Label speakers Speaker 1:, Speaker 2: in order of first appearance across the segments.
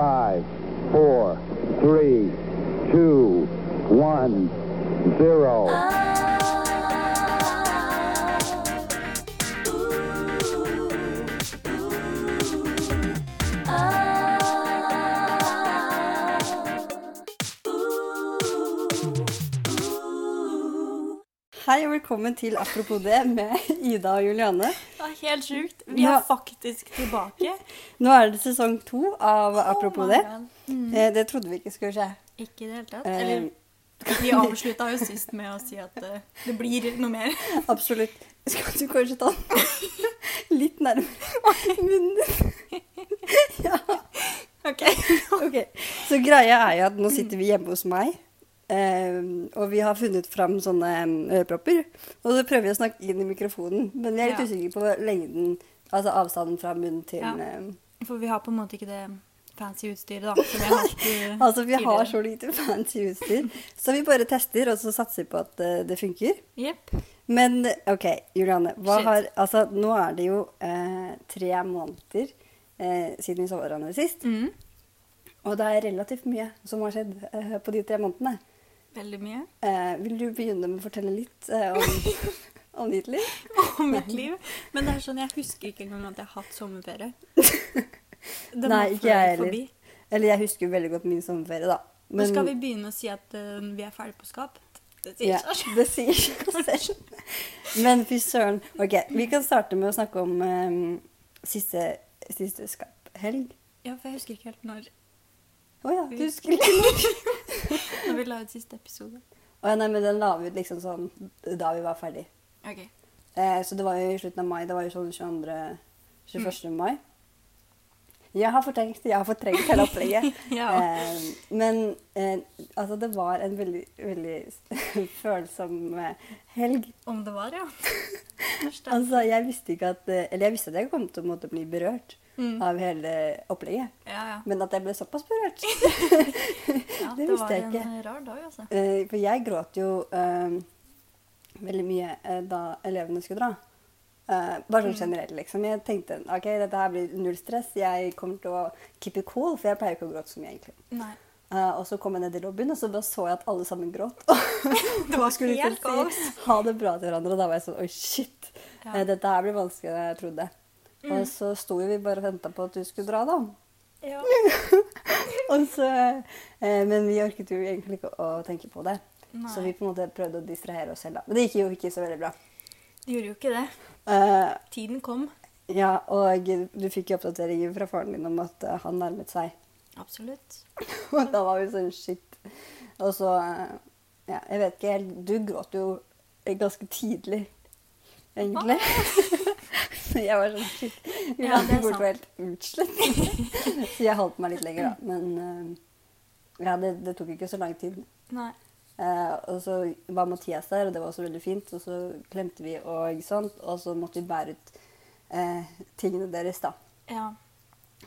Speaker 1: five, four, three, two, one, zero.
Speaker 2: Hei og velkommen til Apropos det med Ida og Juliane.
Speaker 3: Det er helt sjukt. Vi
Speaker 2: Ja.
Speaker 3: er faktisk tilbake.
Speaker 2: Nå er det sesong to av Apropos det.
Speaker 3: Mm.
Speaker 2: Eh, Det trodde vi ikke skulle skje.
Speaker 3: Ikke i det hele tatt.
Speaker 2: Eh,
Speaker 3: Eller, vi avslutta jo sist med å si at eh, det blir noe mer.
Speaker 2: Absolutt. Skal du kanskje ta den litt nærmere munnen din? Ja,
Speaker 3: Ok.
Speaker 2: ok. Så greia er jo at nå sitter vi hjemme hos meg, eh, og vi har funnet fram sånne eh, ørepropper. Og så prøver vi å snakke inn i mikrofonen, men vi er litt
Speaker 3: Ja.
Speaker 2: usikre på lengden, altså avstanden fra munn til
Speaker 3: Ja.
Speaker 2: eh,
Speaker 3: For vi har på en måte ikke det fancy utstyret, da. Som vi har hatt eh,
Speaker 2: Altså, vi har
Speaker 3: tidligere.
Speaker 2: så lite fancy utstyr, så vi bare tester og så satser på at eh, det funker.
Speaker 3: Jepp.
Speaker 2: Men OK, Juliane. Hva
Speaker 3: Shit.
Speaker 2: har, altså, nå er det jo eh, tre måneder eh, siden vi så hverandre sist,
Speaker 3: Mm.
Speaker 2: og det er relativt mye som har skjedd eh, på de tre månedene.
Speaker 3: Veldig mye.
Speaker 2: Eh, vil du begynne med å fortelle litt eh, om, om ditt liv?
Speaker 3: Om mitt liv. Men det er sånn, jeg husker ikke engang at jeg har hatt sommerferie. Den
Speaker 2: Nei,
Speaker 3: var
Speaker 2: ikke jeg
Speaker 3: fløy
Speaker 2: heller.
Speaker 3: forbi.
Speaker 2: Eller jeg husker jo veldig godt min sommerferie, da.
Speaker 3: Nå skal vi begynne å si at eh, vi er ferdig på skap. Det sier
Speaker 2: Ja,
Speaker 3: seg selv.
Speaker 2: det sier seg selv. Men fy søren. Ok, vi kan starte med å snakke om eh, siste, siste skaphelg.
Speaker 3: Ja, for jeg husker ikke helt når,
Speaker 2: Å ja, du husker ikke noe?
Speaker 3: når vi la ut siste episode.
Speaker 2: Å ja, nei, men den la vi ut liksom sånn da vi var ferdig.
Speaker 3: Ok.
Speaker 2: Eh, så det var jo i slutten av mai. Det var jo sånn 22. 21.
Speaker 3: Mm.
Speaker 2: mai. Jeg har fortrengt, jeg har fortrengt hele opplegget.
Speaker 3: Ja.
Speaker 2: Eh, men eh, altså, det var en veldig, veldig følsom eh, helg.
Speaker 3: Om det var, ja. Altså,
Speaker 2: Altså, jeg visste ikke at eh, Eller jeg visste at jeg kom til å måtte bli berørt
Speaker 3: mm.
Speaker 2: av hele opplegget.
Speaker 3: Ja, ja.
Speaker 2: Men at jeg ble såpass berørt
Speaker 3: ja
Speaker 2: det
Speaker 3: det,
Speaker 2: visste
Speaker 3: var
Speaker 2: jeg
Speaker 3: en
Speaker 2: ikke.
Speaker 3: eh, rar dag, altså.
Speaker 2: Eh, For jeg gråt jo eh, veldig mye eh, da elevene skulle dra. Eh, bare sånn generelt, liksom. Jeg tenkte ok, dette her blir null stress. Jeg kommer til å keep it cool, for jeg pleier ikke å gråte så mye, egentlig.
Speaker 3: Nei.
Speaker 2: Eh, og så kom jeg ned i lobbyen, og så bare så jeg at alle sammen gråt.
Speaker 3: Det
Speaker 2: Og skulle liksom
Speaker 3: helt kaos.
Speaker 2: si ha det bra til hverandre. Og da var jeg sånn oi, shit.
Speaker 3: Ja.
Speaker 2: Eh, Dette her blir vanskeligere enn jeg trodde. Og
Speaker 3: Mm.
Speaker 2: så sto jo vi bare og venta på at du skulle dra, da.
Speaker 3: Ja.
Speaker 2: Og så, eh, men vi orket jo egentlig ikke å tenke på det.
Speaker 3: Nei,
Speaker 2: Så vi på en måte prøvde å distrahere oss selv, da. Men det gikk jo ikke så veldig bra.
Speaker 3: det gjorde jo ikke det.
Speaker 2: Eh,
Speaker 3: Tiden kom.
Speaker 2: ja, og du fikk jo oppdateringer fra faren din om at eh, han nærmet seg.
Speaker 3: Absolutt.
Speaker 2: Og da var vi sånn shit. Og så eh, Ja, jeg vet ikke helt Du gråt jo ganske tidlig, egentlig. Så jeg var sånn shit. Hun
Speaker 3: Ja, det er
Speaker 2: bort helt utslett. så jeg holdt meg litt lenger, da. Men eh, ja, det, det tok ikke så lang tid.
Speaker 3: Nei.
Speaker 2: Eh, og så var Mathias der, og det var også veldig fint. Og så klemte vi og sånt, og så måtte vi bære ut eh, tingene deres, da.
Speaker 3: Ja.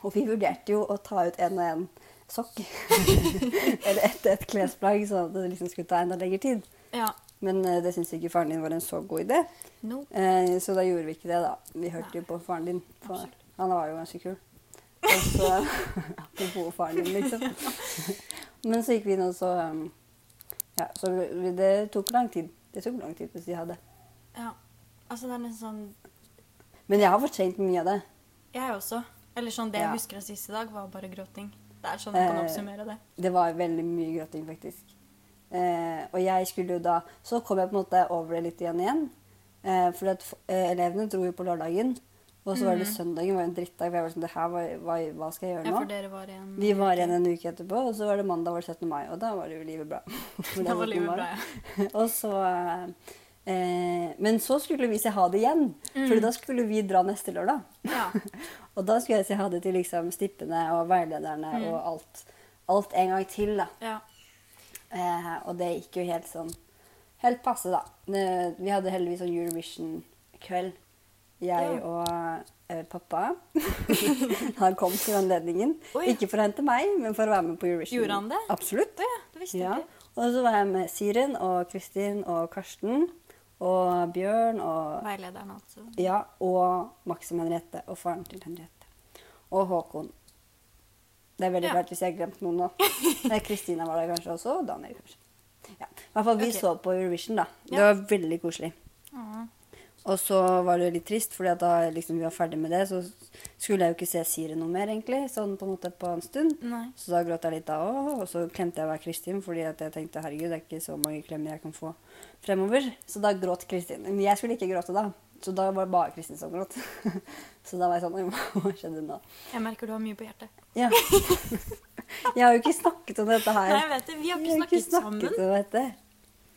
Speaker 2: Og vi vurderte jo å ta ut en og en sokk. Eller ett et klesplagg, sånn at det liksom skulle ta enda lengre tid.
Speaker 3: Ja.
Speaker 2: Men eh, det syntes ikke faren din var en så god idé,
Speaker 3: Nope.
Speaker 2: eh, så da gjorde vi ikke det, da. Vi hørte jo på faren din. For
Speaker 3: Absolutt.
Speaker 2: han var jo ganske kul. Og så Apropos faren din, liksom. Men så gikk vi inn, og så um, Ja, så vi- det tok lang tid. Det tok lang tid hvis de hadde.
Speaker 3: Ja. Altså, det er nesten sånn
Speaker 2: Men jeg har fortrengt mye av det.
Speaker 3: Jeg også. Eller sånn, det
Speaker 2: Ja.
Speaker 3: jeg husker av siste dag, var bare gråting. Det er sånn jeg kan
Speaker 2: Eh,
Speaker 3: oppsummere det.
Speaker 2: Det var veldig mye gråting, faktisk. Eh, og jeg skulle jo da Så kom jeg på en måte over det litt igjen igjen. Eh, fordi at f- eh, elevene dro jo på lørdagen, og så var det
Speaker 3: Mhm.
Speaker 2: søndagen var en drittdag. For jeg var sånn, det her, hva, hva, hva skal jeg
Speaker 3: Ja,
Speaker 2: gjøre nå?
Speaker 3: for dere var igjen.
Speaker 2: Vi var igjen en uke etterpå, og så var det mandag var det 17. mai, og da var det jo livet bra. For det
Speaker 3: Da
Speaker 2: er 17.
Speaker 3: var livet
Speaker 2: mai.
Speaker 3: bra, ja.
Speaker 2: og så eh, eh, Men så skulle vi si ha det igjen,
Speaker 3: Mm.
Speaker 2: for da skulle vi dra neste lørdag.
Speaker 3: ja.
Speaker 2: Og da skulle jeg si ha det til liksom stippene og veilederne
Speaker 3: Mm.
Speaker 2: og alt. Alt en gang til, da.
Speaker 3: Ja.
Speaker 2: Eh, og det gikk jo helt sånn Helt passe, da. Eh, Vi hadde heldigvis sånn Eurovision-kveld. Jeg
Speaker 3: Ja.
Speaker 2: og eh, pappa. han kom til anledningen.
Speaker 3: Oi.
Speaker 2: Ikke for å hente meg, men for å være med på Eurovision.
Speaker 3: Gjorde han det?
Speaker 2: Absolutt.
Speaker 3: Å ja, det visste
Speaker 2: Ja.
Speaker 3: jeg ikke.
Speaker 2: Og så var jeg med Siren og Kristin og Karsten og Bjørn og
Speaker 3: Veilederen, altså.
Speaker 2: Ja, og Maxim Henriette og faren til Henriette. Og Håkon. Det er veldig
Speaker 3: Ja.
Speaker 2: rart hvis jeg har glemt noen nå. Eh, Kristina var der kanskje også, og Daniel kanskje. Ja. I hvert fall vi
Speaker 3: Ok.
Speaker 2: så på Eurovision, da. Det
Speaker 3: Ja.
Speaker 2: var veldig koselig.
Speaker 3: Åh.
Speaker 2: Og så var det jo litt trist, fordi at da liksom, vi var ferdig med det, så skulle jeg jo ikke se Siri noe mer, egentlig. Sånn på en måte på en stund.
Speaker 3: Nei.
Speaker 2: Så da gråt jeg litt da òg, og så klemte jeg hver Kristin fordi at jeg tenkte herregud, det er ikke så mange klemmer jeg kan få fremover. Så da gråt Kristin. Men jeg skulle ikke gråte da, så da var det bare Kristin som gråt. så da var jeg sånn «Oi, Hva skjedde nå?
Speaker 3: Jeg merker du har mye på hjertet.
Speaker 2: Ja. jeg har jo ikke snakket om dette her.
Speaker 3: Nei, jeg vet det. Vi har ikke snakket, sammen.
Speaker 2: om dette.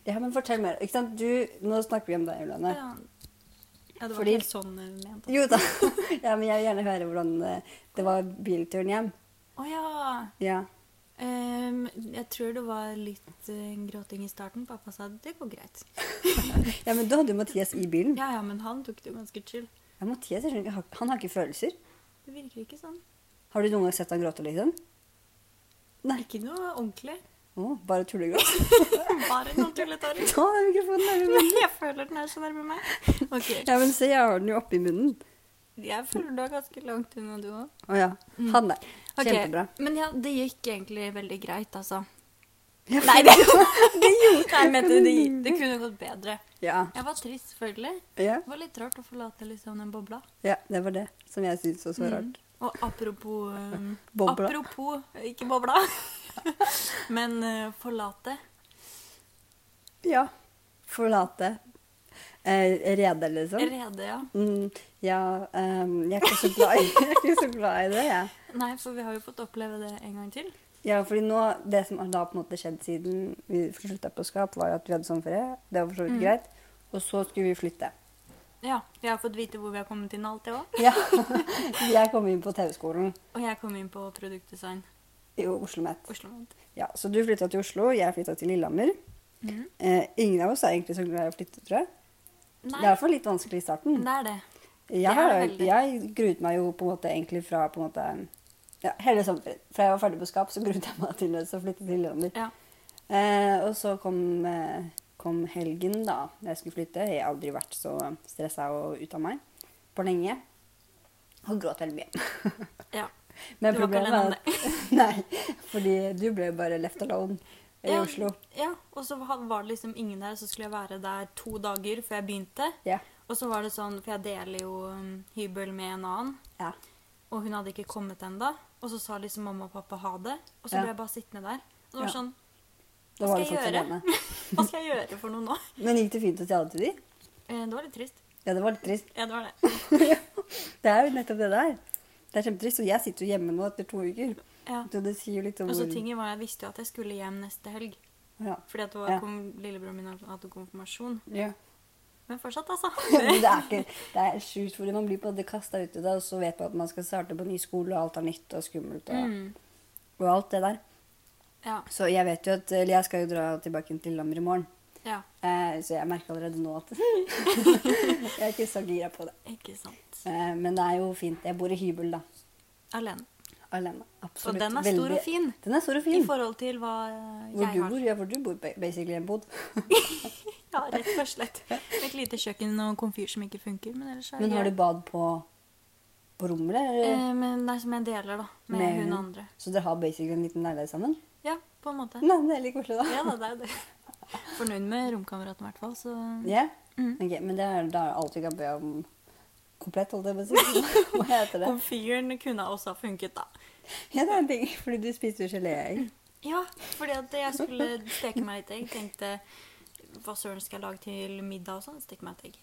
Speaker 2: Ja, men fortell mer. Ikke sant? Du, nå snakker vi om deg, Ulane.
Speaker 3: Ja. ja, det var
Speaker 2: Fordi-
Speaker 3: ikke helt sånn jeg mente.
Speaker 2: Jo da. ja, men jeg vil gjerne høre hvordan eh, det var bilturen hjem.
Speaker 3: Å ja.
Speaker 2: Ja.
Speaker 3: Ehm, jeg tror det var litt eh, gråting i starten. Pappa sa det går greit.
Speaker 2: ja, men da hadde jo Mathias i bilen.
Speaker 3: Ja, ja, men han tok det jo ganske chill.
Speaker 2: Ja, Mathias, jeg skjønner ikke, han- han har ikke følelser.
Speaker 3: Det virker ikke sånn.
Speaker 2: Har du noen gang sett han gråte, liksom? Nei.
Speaker 3: Ikke noe ordentlig.
Speaker 2: Å, bare tullegråt.
Speaker 3: Bare noen tulletårer.
Speaker 2: Ta den mikrofonen nærmere munnen.
Speaker 3: Jeg føler den er så nærme meg. Ok,
Speaker 2: Ja, men se, jeg har den jo oppi munnen.
Speaker 3: Jeg føler du er ganske langt unna, du òg.
Speaker 2: Å ja.
Speaker 3: Mm.
Speaker 2: Han der. Kjempebra.
Speaker 3: Men ja, det gikk egentlig veldig greit, altså.
Speaker 2: Ja,
Speaker 3: Nei, det, det gjorde Nei, jeg mente det, gikk- det kunne gått bedre.
Speaker 2: Ja.
Speaker 3: Jeg var trist, selvfølgelig.
Speaker 2: ja.
Speaker 3: Det var litt rart å forlate liksom den bobla.
Speaker 2: Ja, det var det som jeg syntes var så
Speaker 3: Mm.
Speaker 2: rart.
Speaker 3: Og apropos um,
Speaker 2: Bobla.
Speaker 3: Apropos eh, ikke bobla, men eh, forlate.
Speaker 2: Ja. Forlate. Eh, rede, liksom.
Speaker 3: Rede, ja.
Speaker 2: Mm, ja, ehm, jeg, er ikke så glad i, jeg er ikke så glad i det, jeg.
Speaker 3: Nei, for vi har jo fått oppleve det en gang til.
Speaker 2: Ja, fordi nå, Det som har da på en måte skjedd siden vi slutta på Skap, var jo at vi hadde sommerferie. Det var for så vidt
Speaker 3: Mm.
Speaker 2: greit. Og så skulle vi flytte.
Speaker 3: Ja, Vi har fått vite hvor vi har kommet inn alt det òg.
Speaker 2: Ja, Jeg kom inn på TV-skolen
Speaker 3: Og jeg kom inn på produktdesign
Speaker 2: i Oslo Met.
Speaker 3: Oslo. Med.
Speaker 2: Ja, så du flytta til Oslo, jeg flytta til Lillehammer.
Speaker 3: Mhm.
Speaker 2: Eh, ingen av oss er egentlig så glad i å flytte, tror jeg. Det
Speaker 3: Nei,
Speaker 2: er i hvert fall litt vanskelig i starten.
Speaker 3: det er det.
Speaker 2: Jeg,
Speaker 3: Det er
Speaker 2: har-
Speaker 3: det veldig.
Speaker 2: jeg gruet meg jo på en måte egentlig fra på en måte, ja, hele sommerferien. Fra jeg var ferdig på Skap, så gruet jeg meg til å flytte til Lillehammer.
Speaker 3: Ja.
Speaker 2: Eh, og så kom, eh, kom helgen, da. da Jeg skulle flytte. Jeg har aldri vært så stressa og ute av meg på lenge. Og gråt veldig mye.
Speaker 3: ja.
Speaker 2: Men
Speaker 3: Du var ikke
Speaker 2: problemet er at Nei, fordi du ble jo bare left alone i
Speaker 3: ja,
Speaker 2: Oslo.
Speaker 3: Ja, og så ha- var det liksom ingen der, så skulle jeg være der to dager før jeg begynte.
Speaker 2: Ja.
Speaker 3: Og så var det sånn, for jeg deler jo um, hybel med en annen,
Speaker 2: ja.
Speaker 3: og hun hadde ikke kommet ennå. Og så sa liksom mamma og pappa ha det, og så
Speaker 2: Ja.
Speaker 3: ble jeg bare sittende der. Og det var
Speaker 2: Ja.
Speaker 3: sånn,
Speaker 2: Da
Speaker 3: hva
Speaker 2: var
Speaker 3: skal
Speaker 2: det
Speaker 3: jeg
Speaker 2: folk
Speaker 3: gjøre?
Speaker 2: alene.
Speaker 3: Hva skal jeg gjøre for noe nå?
Speaker 2: Men gikk det fint å tale til de?
Speaker 3: Eh, Det var litt trist.
Speaker 2: Ja, det var litt trist.
Speaker 3: Ja, det var det.
Speaker 2: Det er jo nettopp det der. Det er kjempetrist. Og jeg sitter jo hjemme nå etter to uker.
Speaker 3: Ja.
Speaker 2: Så det sier jo litt om
Speaker 3: Og så
Speaker 2: hvor-
Speaker 3: tingen var, jeg visste jo at jeg skulle hjem neste helg.
Speaker 2: ja.
Speaker 3: Fordi at det var,
Speaker 2: Ja.
Speaker 3: kom, lillebroren min hadde konfirmasjon.
Speaker 2: Ja.
Speaker 3: Men fortsatt, altså.
Speaker 2: Men det er ikke Det er sjukt, fordi man blir på en måte kasta ut i det, og så vet man at man skal starte på ny skole, og alt er nytt og skummelt og,
Speaker 3: Mm.
Speaker 2: og alt det der.
Speaker 3: Ja.
Speaker 2: Så jeg vet jo at Eller jeg skal jo dra tilbake til Lillehammer i morgen.
Speaker 3: ja.
Speaker 2: Eh, så jeg merker allerede nå at Jeg er ikke så gira på det.
Speaker 3: Ikke sant.
Speaker 2: Eh, men det er jo fint. Jeg bor i hybel, da.
Speaker 3: Alene.
Speaker 2: Alene.
Speaker 3: Og
Speaker 2: Absolutt.
Speaker 3: den er stor og
Speaker 2: Veldig-
Speaker 3: fin.
Speaker 2: Den er stor og
Speaker 3: I
Speaker 2: fin.
Speaker 3: forhold til hva
Speaker 2: Mm. Hvor
Speaker 3: jeg
Speaker 2: du
Speaker 3: har.
Speaker 2: bor, ja, hvor du bor ba- basically i en bod.
Speaker 3: Ja, rett og slett. Et lite kjøkken og komfyr som ikke funker. Men ellers er det
Speaker 2: Men har du
Speaker 3: greit.
Speaker 2: bad på, på rommet, eller?
Speaker 3: eh, Men det er som jeg deler, da. Med,
Speaker 2: Med
Speaker 3: hun
Speaker 2: hun.
Speaker 3: andre.
Speaker 2: Så dere har basically en liten leilighet sammen?
Speaker 3: Ja, på en måte.
Speaker 2: Nei, det er litt koselig, da.
Speaker 3: Ja da, det er det. Fornøyd med romkameraten i hvert fall, så
Speaker 2: Ja?
Speaker 3: Mm.
Speaker 2: Ok, men det er da er alt vi kan be om komplett, holdt jeg på å si. Hva heter det?
Speaker 3: Komfyren kunne også ha funket, da.
Speaker 2: Ja, det er en ting, fordi du spiser jo geléegg.
Speaker 3: Ja, fordi at jeg skulle steke meg et egg. Tenkte hva søren skal jeg lage til middag og sånn? Steke meg et egg.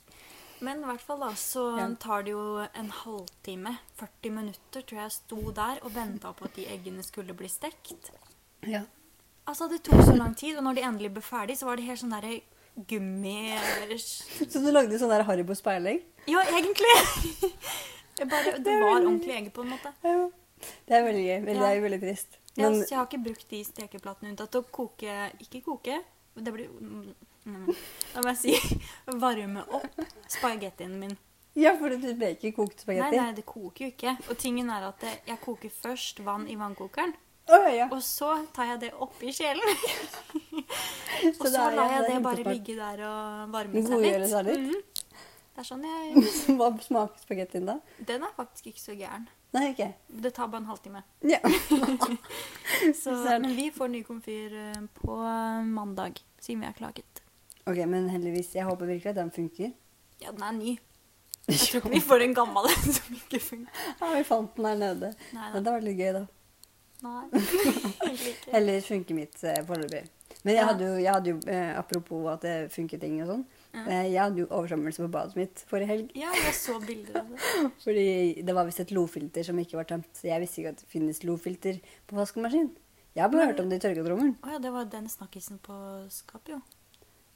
Speaker 3: Men i hvert fall da, så
Speaker 2: Ja.
Speaker 3: tar det jo en halvtime, 40 minutter, tror jeg jeg sto der og venta på at de eggene skulle bli stekt.
Speaker 2: Ja.
Speaker 3: Altså, Det tok så lang tid, og når de endelig ble ferdig, så var det helt sånn derre gummi
Speaker 2: Så du lagde sånn der Haribo speilegg?
Speaker 3: Ja, egentlig! Jeg bare, det var ordentlig egg, på en måte.
Speaker 2: Ja. Det er veldig gøy, men det
Speaker 3: Ja.
Speaker 2: er jo veldig trist.
Speaker 3: Ja,
Speaker 2: Men
Speaker 3: så jeg har ikke brukt de stekeplatene unntatt å koke Ikke koke, det blir mm, mm, La meg si varme opp spagettien min.
Speaker 2: ja, fordi du baker kokt
Speaker 3: Nei,
Speaker 2: spagetti.
Speaker 3: nei, det koker jo ikke. Og tingen er at det- jeg koker først vann i vannkokeren,
Speaker 2: Å, ja.
Speaker 3: og så tar jeg det oppi kjelen.
Speaker 2: Så
Speaker 3: Og
Speaker 2: det
Speaker 3: så lar
Speaker 2: er- ja,
Speaker 3: jeg
Speaker 2: er
Speaker 3: det bare
Speaker 2: kjempesmart.
Speaker 3: ligge der og varme seg
Speaker 2: Godgjøre seg
Speaker 3: litt.
Speaker 2: litt.
Speaker 3: Det er sånn jeg
Speaker 2: Hva smaker spagettien da?
Speaker 3: Den er faktisk ikke så gæren.
Speaker 2: Nei, ok.
Speaker 3: Det tar bare en halvtime.
Speaker 2: Ja.
Speaker 3: Så,
Speaker 2: Ser du.
Speaker 3: men vi får ny komfyr eh, på mandag, siden vi har klaget.
Speaker 2: Ok, men heldigvis. Jeg håper virkelig at den funker.
Speaker 3: Ja, den er ny. Jeg tror ikke vi får en gammel en som ikke funker.
Speaker 2: Ja, vi fant den her nede.
Speaker 3: Nei
Speaker 2: Men
Speaker 3: da.
Speaker 2: det var litt gøy, da.
Speaker 3: Nei. egentlig ikke.
Speaker 2: Eller funker mitt eh, foreløpig. Men jeg
Speaker 3: Ja.
Speaker 2: hadde jo, jeg hadde jo eh, apropos at det funker ting og sånn,
Speaker 3: Ja.
Speaker 2: eh, jeg hadde jo oversvømmelse på badet mitt forrige helg.
Speaker 3: Ja, jeg så bilder av det.
Speaker 2: Fordi det var visst et lofilter som ikke var tømt, så jeg visste ikke at det finnes lofilter på vaskemaskin. Jeg har bare
Speaker 3: Men-
Speaker 2: hørt om det i tørketrommelen.
Speaker 3: Å ja, det var den snakkisen på Skap, jo.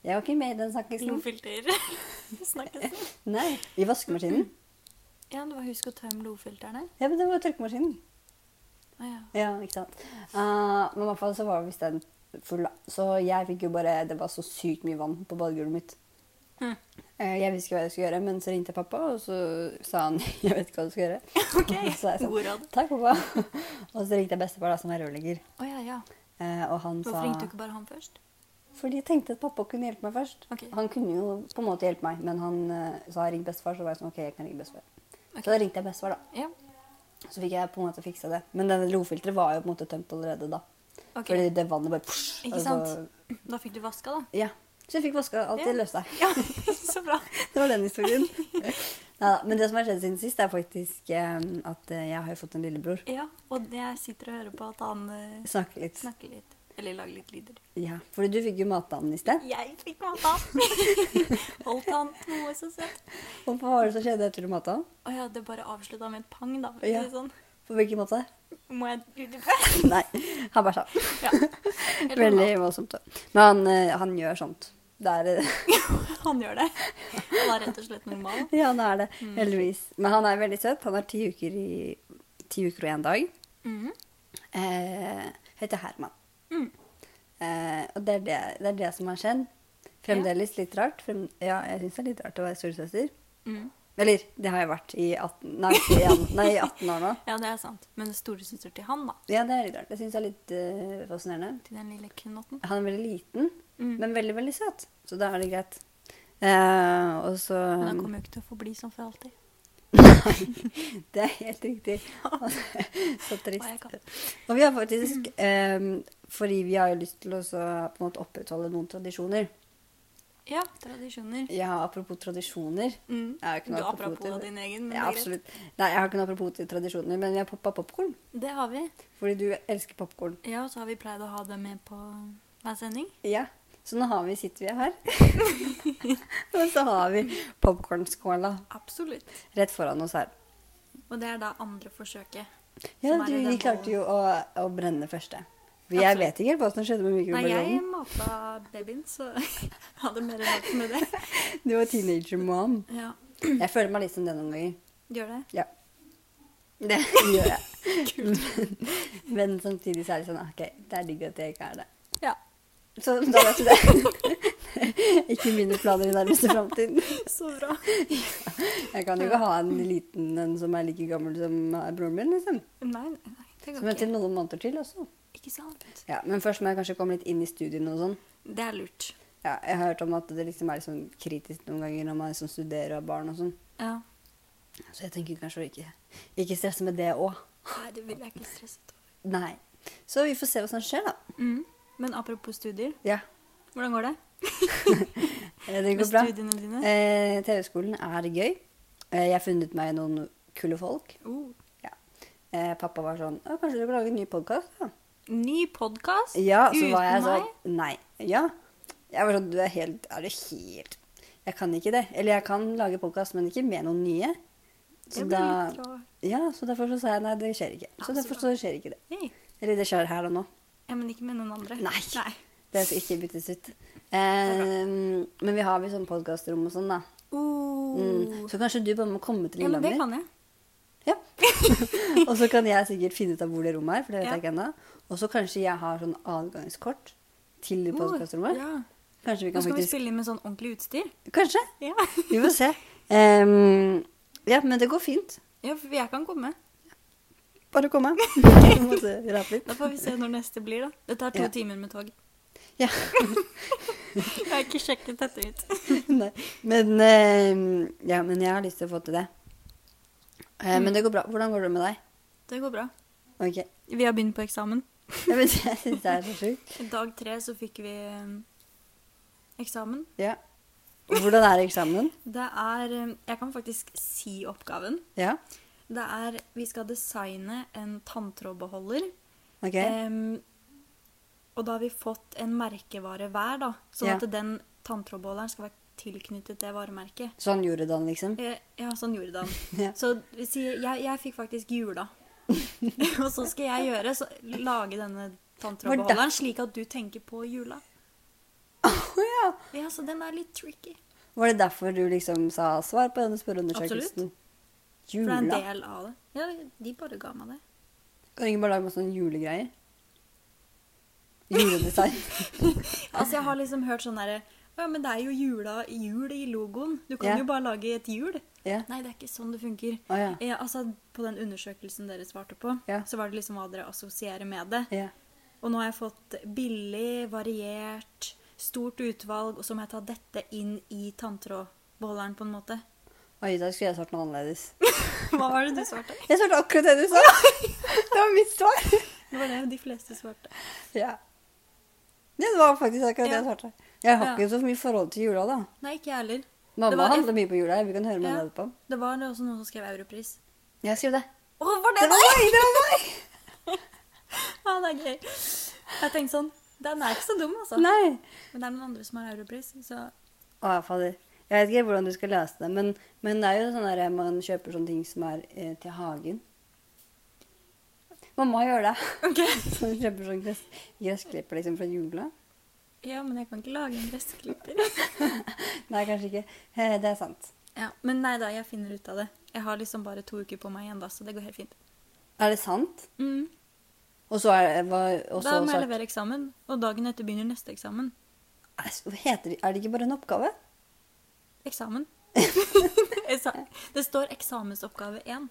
Speaker 2: Jeg var ikke med i den snakkisen.
Speaker 3: Blodfilter. snakkisen.
Speaker 2: Nei, i vaskemaskinen.
Speaker 3: Mm. Ja, det var husk å tømme blodfilterne.
Speaker 2: Ja, men det var tørkemaskinen.
Speaker 3: Å ja.
Speaker 2: Ja, ikke sant. Eh, men i hvert fall så var visst den full, da. Så jeg fikk jo bare Det var så sykt mye vann på badegulvet mitt.
Speaker 3: Hm.
Speaker 2: Eh, Jeg visste ikke hva jeg skulle gjøre, men så ringte jeg pappa, og så sa han jeg vet ikke hva du skal gjøre.
Speaker 3: OK.
Speaker 2: Så sånn. jeg sa,
Speaker 3: God råd.
Speaker 2: Takk, pappa. Og så ringte jeg bestefar, da, som er rørlegger.
Speaker 3: Å ja, ja.
Speaker 2: Eh, Og han sa
Speaker 3: Hvorfor ringte du ikke bare han først?
Speaker 2: Fordi jeg tenkte at pappa kunne hjelpe meg først.
Speaker 3: Ok.
Speaker 2: Han kunne jo på en måte hjelpe meg, men han eh, sa ring bestefar, så var jeg sånn OK, jeg kan ringe bestefar.
Speaker 3: Ok.
Speaker 2: Så da ringte jeg bestefar, da.
Speaker 3: Ja.
Speaker 2: Så fikk jeg på en måte fiksa det. Men denne lofilteret var jo på en måte tømt allerede da.
Speaker 3: Ok.
Speaker 2: Fordi det vannet bare pff,
Speaker 3: Ikke
Speaker 2: og
Speaker 3: sant? Da fikk du vaska, da.
Speaker 2: Så, ja. så jeg fikk vaska alt
Speaker 3: Ja.
Speaker 2: det løste seg.
Speaker 3: Ja, så bra.
Speaker 2: Det var den historien. Neida, Men det som har skjedd siden sist, er faktisk eh, at eh, jeg har jo fått en lillebror.
Speaker 3: Ja, og jeg sitter og hører på at han eh,
Speaker 2: Snakke litt.
Speaker 3: snakker litt. Eller lager litt lyder.
Speaker 2: Ja. Fordi du fikk jo matdamen i sted.
Speaker 3: Jeg fikk mata! Holdt han noe så søtt.
Speaker 2: Og hva var det som skjedde etter du mata han?
Speaker 3: Å ja, det bare avslutta med et pang, da. for å
Speaker 2: Ja.
Speaker 3: si det Sånn.
Speaker 2: På hvilken måte?
Speaker 3: Må jeg utdype?
Speaker 2: Nei, han bæsja.
Speaker 3: Ja. Helt
Speaker 2: Veldig voldsomt. da. Men han, eh, han gjør sånt. Det er, eh,
Speaker 3: normalt. Han gjør det. Han er rett og slett normal.
Speaker 2: ja, han er det,
Speaker 3: Mm.
Speaker 2: heldigvis. Men han er veldig søt. Han er ti uker, i, ti uker og én dag.
Speaker 3: Mhm.
Speaker 2: Eh, heter Herman.
Speaker 3: Mm.
Speaker 2: Eh, og det er det, det er det som har skjedd. Fremdeles litt rart. Frem, ja, jeg syns det er litt rart å være storesøster.
Speaker 3: Mm.
Speaker 2: Eller, det har jeg vært i 18, nei, ikke igjen. nei, i 18 år nå.
Speaker 3: Ja, det er sant. Men storesøster til han, da.
Speaker 2: Ja, det er litt rart. Jeg syns det er litt eh, fascinerende.
Speaker 3: Til den lille knotten.
Speaker 2: Han er veldig liten,
Speaker 3: Mm.
Speaker 2: men veldig, veldig søt. Så da er det greit. Eh, og så
Speaker 3: Men han kommer jo ikke til å forbli sånn for alltid.
Speaker 2: Det er helt riktig. så
Speaker 3: Hva jeg
Speaker 2: trist.
Speaker 3: kan.
Speaker 2: Og vi har faktisk eh, Fordi vi har jo lyst til å så på en måte opprettholde noen tradisjoner.
Speaker 3: Ja, tradisjoner.
Speaker 2: Ja, apropos tradisjoner.
Speaker 3: Mm.
Speaker 2: Jeg har ikke
Speaker 3: Du
Speaker 2: noe
Speaker 3: apropos
Speaker 2: til-
Speaker 3: av din egen, men det er
Speaker 2: ja,
Speaker 3: greit.
Speaker 2: absolutt. Nei, jeg har ikke noe apropos til tradisjoner, men vi har poppa popkorn.
Speaker 3: Det har vi.
Speaker 2: Fordi du elsker popkorn.
Speaker 3: Ja, og så har vi pleid å ha det med på hver sending.
Speaker 2: Ja. Så nå har vi, sitter vi her. Og så har vi popkornskåla
Speaker 3: Absolutt.
Speaker 2: rett foran oss her.
Speaker 3: Og det er da andre forsøket.
Speaker 2: Ja,
Speaker 3: som er
Speaker 2: du,
Speaker 3: i
Speaker 2: vi
Speaker 3: den
Speaker 2: klarte
Speaker 3: bollen.
Speaker 2: jo å, å brenne første. For jeg
Speaker 3: Absolutt.
Speaker 2: vet ikke helt hva som skjedde med
Speaker 3: Nei, jeg
Speaker 2: mikrobølgeovnen.
Speaker 3: mata babyen, så jeg hadde mer rart med det.
Speaker 2: Du var teenager mom.
Speaker 3: Ja,
Speaker 2: Jeg føler meg litt som det noen ganger.
Speaker 3: gjør det.
Speaker 2: Ja. Det gjør jeg. Men samtidig så er det sånn OK, det er digg at jeg ikke er det.
Speaker 3: Ja.
Speaker 2: Så da vet du det. ikke mine planer i nærmeste framtid.
Speaker 3: Så bra.
Speaker 2: Jeg kan jo ikke ha en liten en som er like gammel som er broren min, liksom.
Speaker 3: Nei, nei, nei, det
Speaker 2: Så
Speaker 3: går
Speaker 2: vent til
Speaker 3: ikke.
Speaker 2: noen måneder til også.
Speaker 3: Ikke sant?
Speaker 2: Ja, Men først må jeg kanskje komme litt inn i studiene og sånn.
Speaker 3: Det er lurt.
Speaker 2: Ja, jeg har hørt om at det liksom er litt sånn kritisk noen ganger når man liksom studerer og har barn og sånn.
Speaker 3: Ja.
Speaker 2: Så jeg tenker kanskje å ikke, ikke stresse med det òg.
Speaker 3: Nei, det vil jeg ikke stresse ut over.
Speaker 2: Nei. Så vi får se hva som skjer, da.
Speaker 3: Mm. Men apropos studier,
Speaker 2: Ja,
Speaker 3: hvordan går det
Speaker 2: eh, det
Speaker 3: med
Speaker 2: går bra.
Speaker 3: studiene dine?
Speaker 2: Eh, TV-skolen er gøy. Eh, jeg har funnet meg noen kule folk.
Speaker 3: Oh.
Speaker 2: Ja. Eh, pappa var sånn Å, kanskje du kan lage en ny podkast? Ja.
Speaker 3: Ny podkast?
Speaker 2: ja, så
Speaker 3: Uten
Speaker 2: var jeg
Speaker 3: meg?
Speaker 2: sånn Nei. Ja. Jeg var sånn Du er helt Er du helt Jeg kan ikke det. Eller jeg kan lage podkast, men ikke med noen nye.
Speaker 3: Det
Speaker 2: Så
Speaker 3: blir
Speaker 2: da
Speaker 3: litt rart.
Speaker 2: Ja, så derfor så sa jeg nei, det skjer ikke.
Speaker 3: Ja,
Speaker 2: Så
Speaker 3: så
Speaker 2: derfor
Speaker 3: bra.
Speaker 2: så skjer ikke det.
Speaker 3: Hey.
Speaker 2: Eller det skjer her og nå.
Speaker 3: Ja, men ikke med noen andre.
Speaker 2: Nei.
Speaker 3: Nei.
Speaker 2: Det skal ikke byttes ut. Eh, men vi har vel sånn podkastrom og sånn, da.
Speaker 3: Oh.
Speaker 2: Mm. Så kanskje du bare må komme til
Speaker 3: Ja, men det
Speaker 2: Lillehammer.
Speaker 3: kan jeg.
Speaker 2: Ja. og så kan jeg sikkert finne ut av hvor det rommet er, for det vet
Speaker 3: Ja.
Speaker 2: jeg ikke ennå. Og så kanskje jeg har sånn adgangskort til
Speaker 3: Oh,
Speaker 2: podkastrommet.
Speaker 3: Ja.
Speaker 2: Kanskje vi
Speaker 3: Nå
Speaker 2: kan
Speaker 3: skal vi
Speaker 2: faktisk
Speaker 3: spille inn med sånn ordentlig utstyr.
Speaker 2: Kanskje.
Speaker 3: Ja.
Speaker 2: Vi får se. Ehm, ja, men det går fint.
Speaker 3: for jeg kan komme.
Speaker 2: Bare komme. Jeg måtte rape litt.
Speaker 3: Da får vi se når neste blir, da. Det tar to
Speaker 2: Ja.
Speaker 3: timer med tog.
Speaker 2: Ja.
Speaker 3: Jeg har ikke sjekket dette ut.
Speaker 2: Nei. Men,
Speaker 3: Mm.
Speaker 2: eh, ja, men jeg har lyst til å få til det. Eh, Men det går bra. Hvordan går det med deg?
Speaker 3: Det går bra.
Speaker 2: Ok.
Speaker 3: Vi har begynt på eksamen.
Speaker 2: Jeg, vet, jeg syns det er så sjukt.
Speaker 3: Dag tre så fikk vi eh, eksamen.
Speaker 2: Ja. Hvordan er eksamen?
Speaker 3: Det er eh, Jeg kan faktisk si oppgaven.
Speaker 2: Ja.
Speaker 3: Det er Vi skal designe en tanntrådbeholder.
Speaker 2: Ok.
Speaker 3: Eh, Em, og da har vi fått en merkevare hver, da. Sånn
Speaker 2: Ja.
Speaker 3: at den tanntrådbeholderen skal være tilknyttet det varemerket.
Speaker 2: Sånn gjorde Dan, liksom?
Speaker 3: Eh, Ja, sånn gjorde han.
Speaker 2: Ja.
Speaker 3: Så si, jeg, jeg fikk faktisk jula. og så skal jeg gjøre, så, lage denne
Speaker 2: Var
Speaker 3: tanntrådbeholderen slik at du tenker på jula.
Speaker 2: Å ja.
Speaker 3: Ja, så den er litt tricky.
Speaker 2: Var det derfor du liksom sa svar på denne spørreundersøkelsen?
Speaker 3: For det er en
Speaker 2: Jula.
Speaker 3: del av det. Ja, de bare ga meg det.
Speaker 2: Kan du ikke bare lage masse sånne julegreier? Juledesign.
Speaker 3: Altså, jeg har liksom hørt sånn derre Å ja, men det er jo jula, jul i logoen. Du kan
Speaker 2: Ja.
Speaker 3: jo bare lage et hjul.
Speaker 2: ja.
Speaker 3: Nei, det er ikke sånn det funker.
Speaker 2: Å ja.
Speaker 3: Eh, altså, på den undersøkelsen dere svarte på,
Speaker 2: Ja.
Speaker 3: så var det liksom hva dere assosierer med det.
Speaker 2: ja.
Speaker 3: Og nå har jeg fått billig, variert, stort utvalg, og så må jeg ta dette inn i tanntrådbeholderen på en måte.
Speaker 2: Oi, da skulle jeg svart noe annerledes.
Speaker 3: Hva var det du svarte?
Speaker 2: Jeg svarte akkurat det du sa! Det var mitt svar.
Speaker 3: Det var det de fleste svarte.
Speaker 2: Ja. Det var faktisk akkurat det
Speaker 3: Ja.
Speaker 2: jeg svarte. Jeg har
Speaker 3: Ja.
Speaker 2: ikke så mye forhold til jula, da.
Speaker 3: Nei, ikke jeg heller. Det
Speaker 2: Mamma
Speaker 3: var-
Speaker 2: handler mye på jula. Vi kan høre med henne
Speaker 3: Ja.
Speaker 2: etterpå.
Speaker 3: Det var også noen som skrev Europris.
Speaker 2: Jeg skriver det.
Speaker 3: Å, var det
Speaker 2: Det var meg! Det var meg!
Speaker 3: Ja, det er gøy. Jeg tenkte sånn Den er ikke så dum, altså.
Speaker 2: Nei.
Speaker 3: Men det er noen andre som har Europris, så
Speaker 2: Å, ja, fader. Jeg vet ikke hvordan du skal lese det, men, men det er jo sånn der man kjøper sånne ting som er eh, til hagen. Mamma gjør det.
Speaker 3: OK.
Speaker 2: Så hun kjøper sånn gress, gressklipper liksom fra jula.
Speaker 3: Ja, men jeg kan ikke lage en gressklipper.
Speaker 2: Nei, kanskje ikke. Eh, Det er sant.
Speaker 3: Ja, men nei da, jeg finner ut av det. Jeg har liksom bare to uker på meg igjen, da, så det går helt fint.
Speaker 2: Er det sant?
Speaker 3: Mm.
Speaker 2: Og så er det hva, og
Speaker 3: Da
Speaker 2: så
Speaker 3: må jeg
Speaker 2: svart.
Speaker 3: levere eksamen, og dagen etter begynner neste eksamen.
Speaker 2: Er- Heter, det- er det ikke bare en oppgave?
Speaker 3: Eksamen. Esa- det står eksamensoppgave 1.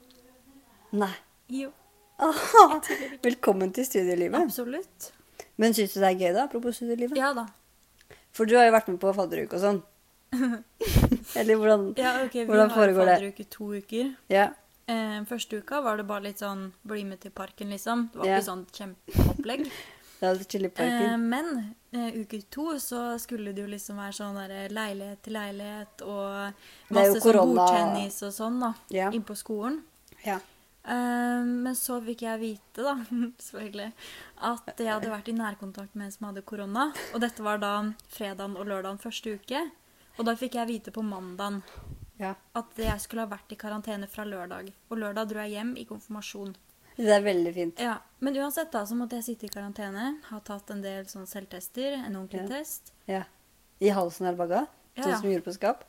Speaker 2: Nei.
Speaker 3: Jo,
Speaker 2: Aha. Velkommen til studielivet.
Speaker 3: absolutt.
Speaker 2: Men syns du det er gøy, da? Apropos studielivet.
Speaker 3: Ja da.
Speaker 2: For du har jo vært med på fadderuke og sånn. Eller hvordan
Speaker 3: Ja, ok, vi
Speaker 2: Hvordan foregår det?
Speaker 3: har fadderuke to uker.
Speaker 2: Ja.
Speaker 3: Eh, første uka var det bare litt sånn bli med til parken, liksom. Det var
Speaker 2: Ja.
Speaker 3: ikke sånn kjempeopplegg.
Speaker 2: Det er litt chill i
Speaker 3: Eh,
Speaker 2: parken.
Speaker 3: men eh, uke to så skulle det jo liksom være sånn der, leilighet til leilighet og
Speaker 2: Det er jo
Speaker 3: masse sånn
Speaker 2: korona-
Speaker 3: bordtennis og sånn, da.
Speaker 2: Ja.
Speaker 3: Inn på skolen.
Speaker 2: Ja.
Speaker 3: Eh, Men så fikk jeg vite, da, selvfølgelig, at jeg hadde vært i nærkontakt med en som hadde korona. Og dette var da fredagen og lørdagen første uke. Og da fikk jeg vite på mandagen
Speaker 2: ja.
Speaker 3: at jeg skulle ha vært i karantene fra lørdag. Og lørdag dro jeg hjem i konfirmasjon.
Speaker 2: Det er veldig fint.
Speaker 3: Ja, Men uansett da, så måtte jeg sitte i karantene. Ha tatt en del sånn selvtester. En ordentlig
Speaker 2: Ja.
Speaker 3: test.
Speaker 2: Ja. I halsen er det bagga.
Speaker 3: Ja,
Speaker 2: Sånn
Speaker 3: ja.
Speaker 2: som vi gjorde på skap.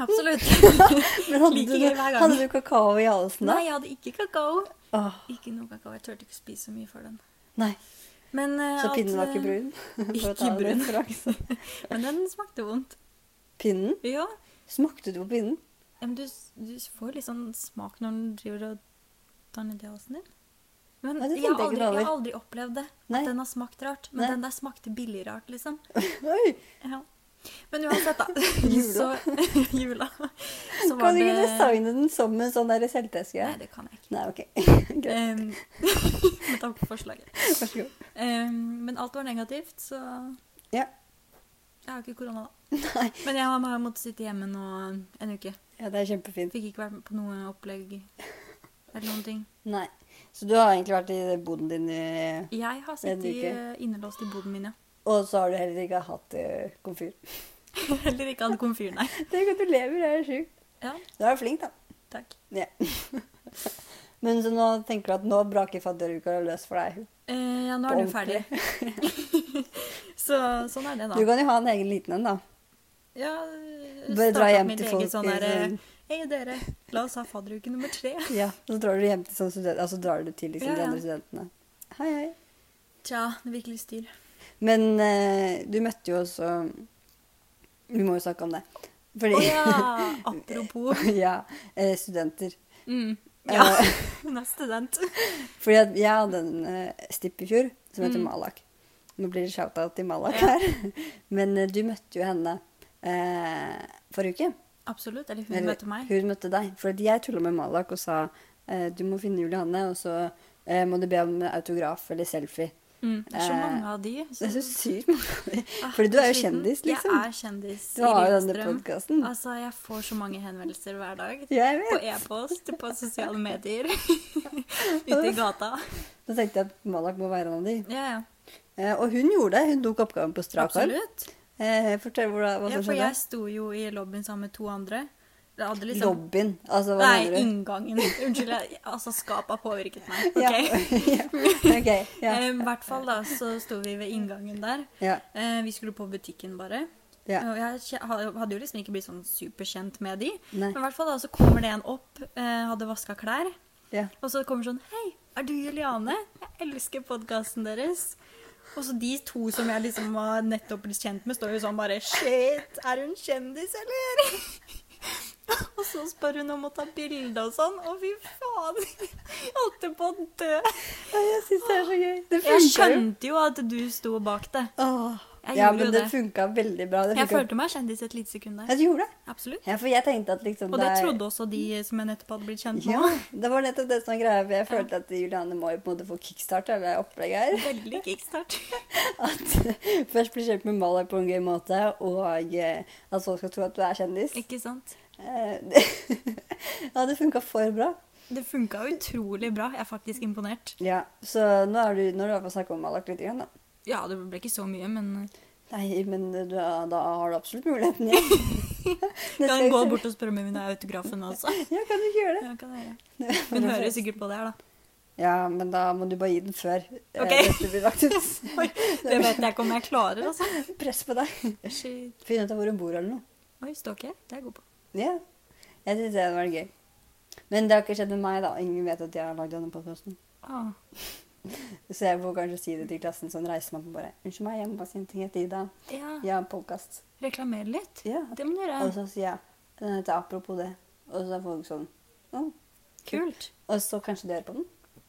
Speaker 3: Absolutt.
Speaker 2: Men hadde,
Speaker 3: Like
Speaker 2: du,
Speaker 3: gøy hver gang.
Speaker 2: hadde du kakao i halsen da?
Speaker 3: Nei, jeg hadde ikke kakao.
Speaker 2: Åh,
Speaker 3: Ikke noe kakao. Jeg turte ikke å spise så mye for den.
Speaker 2: nei.
Speaker 3: Men, eh,
Speaker 2: Så
Speaker 3: alt,
Speaker 2: pinnen var
Speaker 3: eh,
Speaker 2: ikke brun? For å
Speaker 3: Ikke
Speaker 2: ta en
Speaker 3: brun.
Speaker 2: referanse.
Speaker 3: Men den smakte vondt.
Speaker 2: Pinnen?
Speaker 3: Ja.
Speaker 2: Smakte du på pinnen?
Speaker 3: Ja, men du, du får litt sånn smak når du driver og tar nedi halsen din. Men
Speaker 2: Nei, det
Speaker 3: jeg, har
Speaker 2: tenkte
Speaker 3: aldri,
Speaker 2: jeg ikke
Speaker 3: jeg har
Speaker 2: over.
Speaker 3: aldri opplevd det.
Speaker 2: Nei.
Speaker 3: At den har smakt rart. Men
Speaker 2: Nei.
Speaker 3: den der smakte billig rart, liksom.
Speaker 2: Oi!
Speaker 3: Ja. Men uansett, da.
Speaker 2: Jula.
Speaker 3: Så, jula. Så var
Speaker 2: Kan du
Speaker 3: det
Speaker 2: ikke designe den som en sånn der selvteske?
Speaker 3: Nei, det kan jeg ikke.
Speaker 2: Nei, ok. Greit.
Speaker 3: Um, men takk for forslaget.
Speaker 2: Vær så god.
Speaker 3: Em, men alt var negativt, så
Speaker 2: Ja.
Speaker 3: Jeg har ikke korona, da.
Speaker 2: Nei.
Speaker 3: Men jeg har bare måttet sitte hjemme nå en uke.
Speaker 2: Ja, det er kjempefint.
Speaker 3: Fikk ikke vært med på noe opplegg eller noen ting.
Speaker 2: Nei. Så du har egentlig vært i boden din, i-
Speaker 3: Jeg har sittet i, eh,
Speaker 2: uke.
Speaker 3: innelåst i boden min, ja.
Speaker 2: og så har du heller ikke hatt eh, komfyr.
Speaker 3: Heller ikke hadde komfyr, nei.
Speaker 2: Tenk at du lever, det er sjukt.
Speaker 3: Ja,
Speaker 2: Du er flink, da.
Speaker 3: takk.
Speaker 2: Ja. Men så nå tenker du at nå braker fadderuka løs for deg.
Speaker 3: Eh, ja, nå
Speaker 2: På
Speaker 3: er du ferdig. så sånn er det,
Speaker 2: Du
Speaker 3: da.
Speaker 2: kan jo ha en egen liten en, da.
Speaker 3: Ja,
Speaker 2: Bare dra hjem til folk
Speaker 3: Sånn
Speaker 2: i
Speaker 3: der,
Speaker 2: sånn-
Speaker 3: eh, Hei, dere. La oss ha fadderuke nummer tre.
Speaker 2: Ja, Så drar du hjem til sånn student, altså drar du til liksom,
Speaker 3: Ja,
Speaker 2: de
Speaker 3: ja.
Speaker 2: andre studentene. Hei, hei.
Speaker 3: Tja, det er virkelig styr.
Speaker 2: Men eh, du møtte jo også Vi må jo snakke om det. Fordi
Speaker 3: Å ja! Apropos.
Speaker 2: ja, eh, studenter.
Speaker 3: Mm. Ja,
Speaker 2: Eh,
Speaker 3: hun er student.
Speaker 2: fordi at jeg hadde en eh, stipp i fjor som heter
Speaker 3: Mm.
Speaker 2: Malak. Nå blir det shout-out til Malak
Speaker 3: Ja.
Speaker 2: her. Men eh, du møtte jo henne eh, forrige uke.
Speaker 3: Absolutt. Eller hun
Speaker 2: Eller,
Speaker 3: møter meg.
Speaker 2: Hun møtte deg. For jeg tulla med Malak og sa eh, du må finne Julianne, og så eh, må du be om autograf eller selfie.
Speaker 3: Mm. Det er så
Speaker 2: Eh,
Speaker 3: mange av de.
Speaker 2: Det
Speaker 3: så-
Speaker 2: er så sykt mange.
Speaker 3: Ah,
Speaker 2: Fordi du er jo
Speaker 3: siden-
Speaker 2: kjendis, liksom.
Speaker 3: Jeg er kjendis.
Speaker 2: Du har jo
Speaker 3: i
Speaker 2: denne
Speaker 3: Lillestrøm.
Speaker 2: podkasten.
Speaker 3: Altså, jeg får så mange henvendelser hver dag.
Speaker 2: Jeg
Speaker 3: På
Speaker 2: vet.
Speaker 3: e-post, på sosiale medier. Ute i gata.
Speaker 2: Da tenkte jeg at Malak må være en av de.
Speaker 3: Ja, ja.
Speaker 2: Eh, og hun gjorde det. Hun tok oppgaven på strak arm.
Speaker 3: Absolutt.
Speaker 2: Eh, fortell hvordan, hva
Speaker 3: Ja,
Speaker 2: som
Speaker 3: for
Speaker 2: skjedde.
Speaker 3: jeg sto jo i lobbyen sammen med to andre. Det hadde liksom
Speaker 2: Lobbyen. Altså, hva
Speaker 3: Nei,
Speaker 2: mener du?
Speaker 3: inngangen. Unnskyld. Jeg, altså, skapet påvirket meg.
Speaker 2: Ja,
Speaker 3: ok?
Speaker 2: ja. OK. Ja.
Speaker 3: Eh, I hvert fall da, så sto vi ved inngangen der.
Speaker 2: ja.
Speaker 3: Eh, vi skulle på butikken bare.
Speaker 2: Ja.
Speaker 3: Og jeg kje- ha- hadde jo liksom ikke blitt sånn superkjent med de.
Speaker 2: Nei.
Speaker 3: Men i hvert fall da, så kommer det en opp, eh, hadde vaska klær.
Speaker 2: ja.
Speaker 3: Og så kommer sånn Hei, er du Juliane? Jeg elsker podkasten deres. Og så de to som jeg liksom har nettopp blitt kjent med, står jo sånn bare Shit, er hun kjendis, eller? og så spør hun om å ta bilde og sånn. Å, fy faen. Jeg holdt på å dø.
Speaker 2: Nei, Jeg syns det er så gøy. Det
Speaker 3: Jeg
Speaker 2: funka jo.
Speaker 3: skjønte jo at du sto bak det.
Speaker 2: Åh.
Speaker 3: Jeg
Speaker 2: Ja,
Speaker 3: gjorde
Speaker 2: men
Speaker 3: jo
Speaker 2: det
Speaker 3: det.
Speaker 2: funka veldig bra. Det
Speaker 3: Jeg
Speaker 2: funka
Speaker 3: følte meg kjendis et lite sekund der.
Speaker 2: Jeg gjorde det.
Speaker 3: Absolutt.
Speaker 2: Ja, for jeg tenkte at liksom
Speaker 3: Og det
Speaker 2: er-
Speaker 3: trodde også de som jeg nettopp hadde blitt kjent med.
Speaker 2: Ja, det var nettopp det som var greia. For jeg følte at Juliane må jo på en måte få kickstart av det opplegget her.
Speaker 3: Veldig kickstart.
Speaker 2: At først bli kjent med Malak på en gøy måte, og eh, at folk skal tro at du er kjendis.
Speaker 3: Ikke sant?
Speaker 2: Eh, det- ja, det funka for bra.
Speaker 3: Det funka utrolig bra. Jeg er faktisk imponert.
Speaker 2: Ja, Så nå er du, nå har du snakka om Malak litt, grann, da.
Speaker 3: Ja, det ble ikke så mye, men
Speaker 2: Nei, men du, er- da har du absolutt muligheten igjen.
Speaker 3: jeg kan
Speaker 2: Neste
Speaker 3: gå
Speaker 2: gang-
Speaker 3: bort og spørre om hun vil ha autografen altså.
Speaker 2: Ja, kan du ikke gjøre det?
Speaker 3: Ja, kan jeg gjøre. Hun hører sikkert på det her, da.
Speaker 2: Ja, men da må du bare gi den før eh,
Speaker 3: Ok.
Speaker 2: dette blir lagt ut.
Speaker 3: Oi, det vet jeg ikke om jeg klarer, altså.
Speaker 2: Press på deg.
Speaker 3: Shit.
Speaker 2: Finn ut av hvor hun bor eller noe.
Speaker 3: Oi, stalker jeg? Det er jeg god på.
Speaker 2: Ja. Jeg syns det hadde vært gøy. Men det har ikke skjedd med meg, da. Ingen vet at jeg har lagd denne podkasten.
Speaker 3: Ah.
Speaker 2: Så jeg får kanskje si det til klassen, sånn reiser meg på bare Unnskyld meg, jeg må bare si en ting etter Ida.
Speaker 3: Ja,
Speaker 2: Jeg har podkast.
Speaker 3: reklamer litt.
Speaker 2: Ja. Altså,
Speaker 3: Det må du
Speaker 2: Og
Speaker 3: gjøre.
Speaker 2: så sier jeg den heter Apropos det. Og så er folk sånn «Å».
Speaker 3: Kult.
Speaker 2: Og så kanskje de hører på den.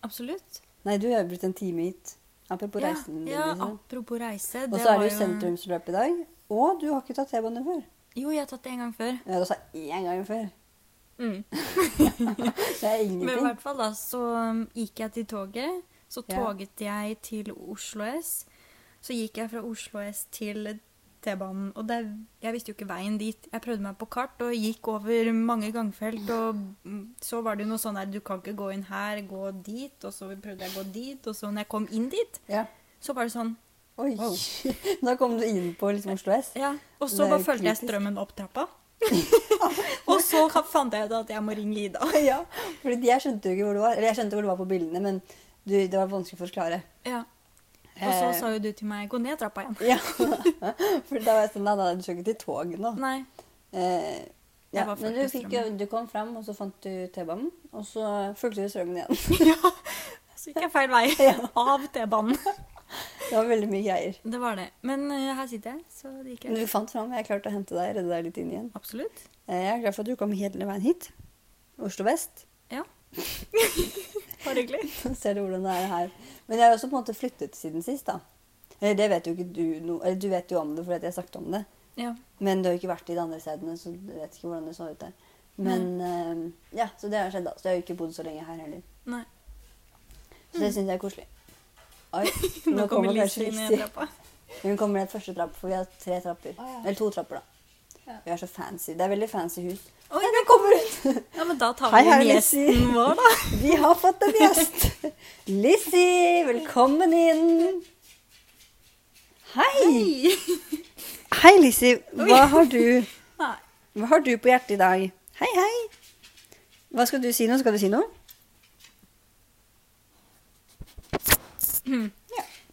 Speaker 3: Absolutt.
Speaker 2: Nei, du har jo brukt en time hit. Apropos
Speaker 3: Ja,
Speaker 2: reisen din.
Speaker 3: ja,
Speaker 2: liksom.
Speaker 3: apropos reise.
Speaker 2: Og så er
Speaker 3: var
Speaker 2: det jo
Speaker 3: jo-
Speaker 2: sentrumsløp i dag. Og du har ikke tatt T-bane før.
Speaker 3: Jo, jeg har tatt det en gang før. Mm.
Speaker 2: Ja, du sa én gang før. Det er
Speaker 3: Men i
Speaker 2: ingenting.
Speaker 3: hvert fall da, så um, gikk jeg til toget. Så
Speaker 2: Ja.
Speaker 3: toget jeg til Oslo S. Så gikk jeg fra Oslo S til T-banen. Og det, jeg visste jo ikke veien dit. Jeg prøvde meg på kart og gikk over mange gangfelt. Og mm, så var det jo noe sånn der, du kan ikke gå inn her, gå dit. Og så prøvde jeg å gå dit. Og så når jeg kom inn dit,
Speaker 2: Ja.
Speaker 3: så var det sånn.
Speaker 2: Oi.
Speaker 3: Wow.
Speaker 2: Da kom du inn på liksom Oslo S.
Speaker 3: Ja. Og
Speaker 2: Det
Speaker 3: så
Speaker 2: er
Speaker 3: bare følte jeg
Speaker 2: kritisk.
Speaker 3: strømmen opp trappa. og så ka- fant jeg ut at jeg må ringe Ida.
Speaker 2: ja, fordi jeg skjønte jo ikke hvor du var. Eller jeg skjønte hvor du var på bildene, men du, det var vanskelig å forklare.
Speaker 3: Ja. Og så
Speaker 2: Eh.
Speaker 3: sa jo du til meg 'gå ned trappa igjen'.
Speaker 2: Ja, for da var jeg sånn, nei, nei, du skal ikke til tog nå.
Speaker 3: Nei.
Speaker 2: Eh, ja,
Speaker 3: Jeg var
Speaker 2: men du,
Speaker 3: fulgt i
Speaker 2: fikk, jo- du kom frem, og så fant du T-banen, og så fulgte du strømmen igjen.
Speaker 3: Ja, så gikk jeg feil vei.
Speaker 2: Ja.
Speaker 3: Av T-banen.
Speaker 2: Det var veldig mye greier.
Speaker 3: Det var det. Men eh, her sitter jeg, så det gikk
Speaker 2: Men
Speaker 3: greit.
Speaker 2: du fant frem, jeg klarte å hente deg, redde deg litt inn igjen.
Speaker 3: Absolutt.
Speaker 2: Eh, jeg er glad for at du kom hele veien hit. Oslo Vest.
Speaker 3: Ja. Bare hyggelig.
Speaker 2: Så ser du hvordan det er her. Men jeg har også på en måte flyttet siden sist, da. Eller det vet jo ikke du noe, eller du vet jo om det fordi at jeg har sagt om det.
Speaker 3: Ja.
Speaker 2: Men du har jo ikke vært i de andre stedene, så du vet ikke hvordan det så ut der. Men eh, ja, så det har skjedd, da. Så jeg har jo ikke bodd så lenge her heller.
Speaker 3: Nei.
Speaker 2: Så det syns jeg er koselig. Oi,
Speaker 3: Mm. Nå, kommer Lise
Speaker 2: kanskje
Speaker 3: inn i
Speaker 2: Lise.
Speaker 3: trappa.
Speaker 2: Hun kommer ned første trapp, for vi har tre trapper.
Speaker 4: Å, ja.
Speaker 2: Eller to trapper, da.
Speaker 4: Ja.
Speaker 2: Vi er så fancy. Det er veldig fancy hus.
Speaker 3: Oi.
Speaker 2: Nei, den kommer ut!
Speaker 3: Ja, men da tar
Speaker 2: Hei,
Speaker 3: vi
Speaker 2: her
Speaker 3: inn
Speaker 2: er Lise.
Speaker 3: gjesten vår, da.
Speaker 2: Vi har fått en gjest. Lizzie, velkommen inn. Hei. Hei, Lizzie. Hva
Speaker 3: Oi.
Speaker 2: har du,
Speaker 3: Nei.
Speaker 2: hva har du på hjertet i dag? Hei, hei. Hva skal du si nå? Skal du si noe?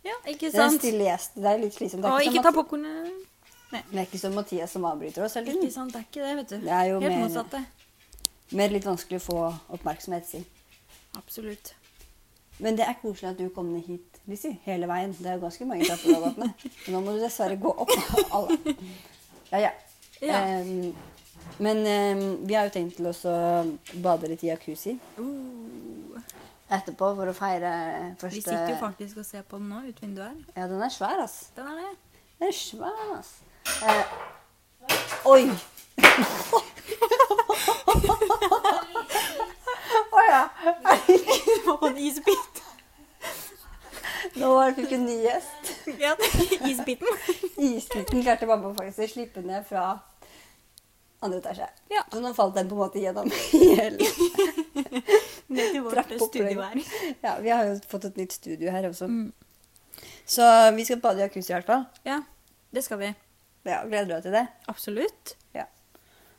Speaker 3: Ja, ikke
Speaker 2: Det er en
Speaker 3: sant?
Speaker 2: stille gjest. Det er litt slitsomt. Det er
Speaker 3: Og
Speaker 2: ikke sånn
Speaker 3: ikke
Speaker 2: som
Speaker 3: ta
Speaker 2: Mat-
Speaker 3: popkornet.
Speaker 2: Det er ikke som Mathias som avbryter oss hele
Speaker 3: Ikke
Speaker 2: tiden.
Speaker 3: sant, det er ikke det, vet du.
Speaker 2: Mm. Det er jo
Speaker 3: Helt
Speaker 2: mer-
Speaker 3: motsatt, det.
Speaker 2: Mer litt vanskelig å få oppmerksomhet, si.
Speaker 3: Absolutt.
Speaker 2: Men det er koselig at du kom ned hit, Lizzie. Hele veien. Det er jo ganske mange trapper du har gått ned. Men Nå må du dessverre gå opp alle. Ja, ja.
Speaker 3: Ja.
Speaker 2: Em, men em, vi har jo tenkt til å så bade litt i jacuzzi
Speaker 3: Uh,
Speaker 2: etterpå for å feire første
Speaker 3: vi sitter jo faktisk og ser på den nå, ut vinduet her.
Speaker 2: Ja, den er svær, ass.
Speaker 3: Den er det.
Speaker 2: Den er svær, ass. Eh, oi! Å ja.
Speaker 3: På en isbit.
Speaker 2: Nå var- fikk vi en ny gjest.
Speaker 3: Ja, Isbiten.
Speaker 2: Isbiten klarte mamma faktisk å slippe ned fra andre etasje.
Speaker 3: Ja.
Speaker 2: Så nå falt den på en måte gjennom hele
Speaker 3: Ned til vårt
Speaker 2: trappeopplegget.
Speaker 3: studio her.
Speaker 2: Ja, vi har jo fått et nytt studio her også.
Speaker 3: Mm.
Speaker 2: Så vi skal bade i jacuzzi i hvert fall.
Speaker 3: Ja, det skal vi.
Speaker 2: Ja, gleder du deg til det?
Speaker 3: Absolutt.
Speaker 2: Ja.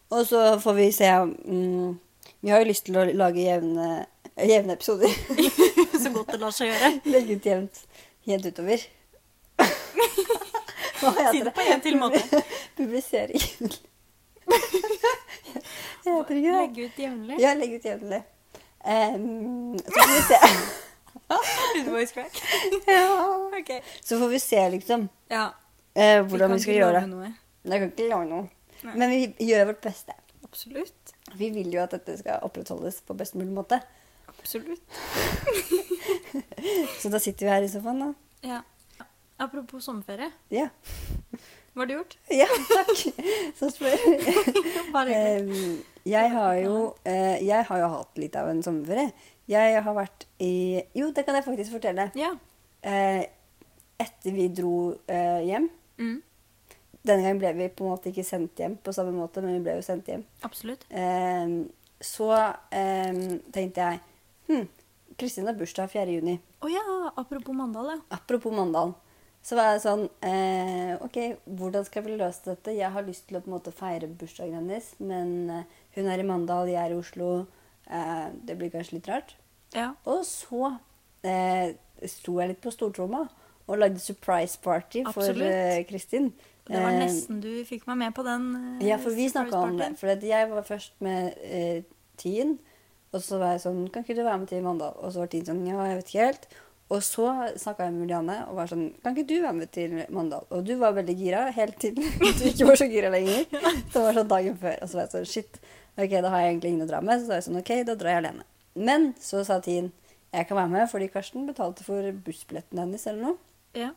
Speaker 2: Og så får vi se om mm, Vi har jo lyst til å lage jevne, jevne episoder.
Speaker 3: Så godt det lar seg gjøre.
Speaker 2: Legge ut jevnt, jevnt utover. Hva
Speaker 3: Si det på en til måte.
Speaker 2: Publisering. Jeg heter ikke det.
Speaker 3: Legge ut jevnlig.
Speaker 2: Ja, legge ut jevnlig. Em, så får vi se.
Speaker 3: Good voice crack.
Speaker 2: Ja.
Speaker 3: Ok.
Speaker 2: Så får vi se, liksom,
Speaker 3: Ja.
Speaker 2: eh, hvordan vi
Speaker 3: kan
Speaker 2: skal
Speaker 3: ikke
Speaker 2: gjøre
Speaker 3: love
Speaker 2: det.
Speaker 3: noe.
Speaker 2: Jeg kan ikke lage noe.
Speaker 3: Nei.
Speaker 2: Men vi gjør vårt beste.
Speaker 3: Absolutt.
Speaker 2: Vi vil jo at dette skal opprettholdes på best mulig måte.
Speaker 3: Absolutt.
Speaker 2: Så da sitter vi her i sofaen, da.
Speaker 3: Ja. Apropos sommerferie.
Speaker 2: Ja.
Speaker 3: Hva har du gjort?
Speaker 2: Ja, takk. Så spør
Speaker 3: Bare hyggelig.
Speaker 2: Em, jeg har jo eh, Jeg har jo hatt litt av en sommerferie. Jeg har vært i Jo, det kan jeg faktisk fortelle.
Speaker 3: Ja.
Speaker 2: Eh, etter vi dro eh, hjem
Speaker 3: Mm.
Speaker 2: Denne gangen ble vi på en måte ikke sendt hjem på samme måte, men vi ble jo sendt hjem.
Speaker 3: Absolutt.
Speaker 2: Em, så em, tenkte jeg Hm, Kristin har bursdag 4. juni.
Speaker 3: Å ja, apropos Mandal, ja.
Speaker 2: Apropos Mandalen. Så var jeg sånn eh, OK, hvordan skal vi løse dette? Jeg har lyst til å på en måte feire bursdagen hennes, men eh, hun er i Mandal, jeg er i Oslo. Eh, det blir kanskje litt rart.
Speaker 3: Ja.
Speaker 2: Og så eh, sto jeg litt på stortromma og lagde surprise party for
Speaker 3: Absolutt.
Speaker 2: eh, Kristin.
Speaker 3: Det var
Speaker 2: Eh,
Speaker 3: nesten du fikk meg med på den. eh,
Speaker 2: Ja, for vi
Speaker 3: surprise
Speaker 2: snakka om det.
Speaker 3: partyen.
Speaker 2: For at jeg var først med eh, Tien, og så var jeg sånn Kan ikke du være med til Mandal? Og så var Tien sånn Ja, jeg vet ikke helt. Og så snakka jeg med Juliane og var sånn Kan ikke du være med til Mandal? Og du var veldig gira helt til du ikke var så gira lenger. Det var sånn dagen før. Og så var jeg sånn Shit, ok, da har jeg egentlig ingen å dra med. Så sa jeg sånn Ok, da drar jeg alene. Men så sa Tien jeg kan være med fordi Karsten betalte for bussbilletten hennes eller noe.
Speaker 3: Ja.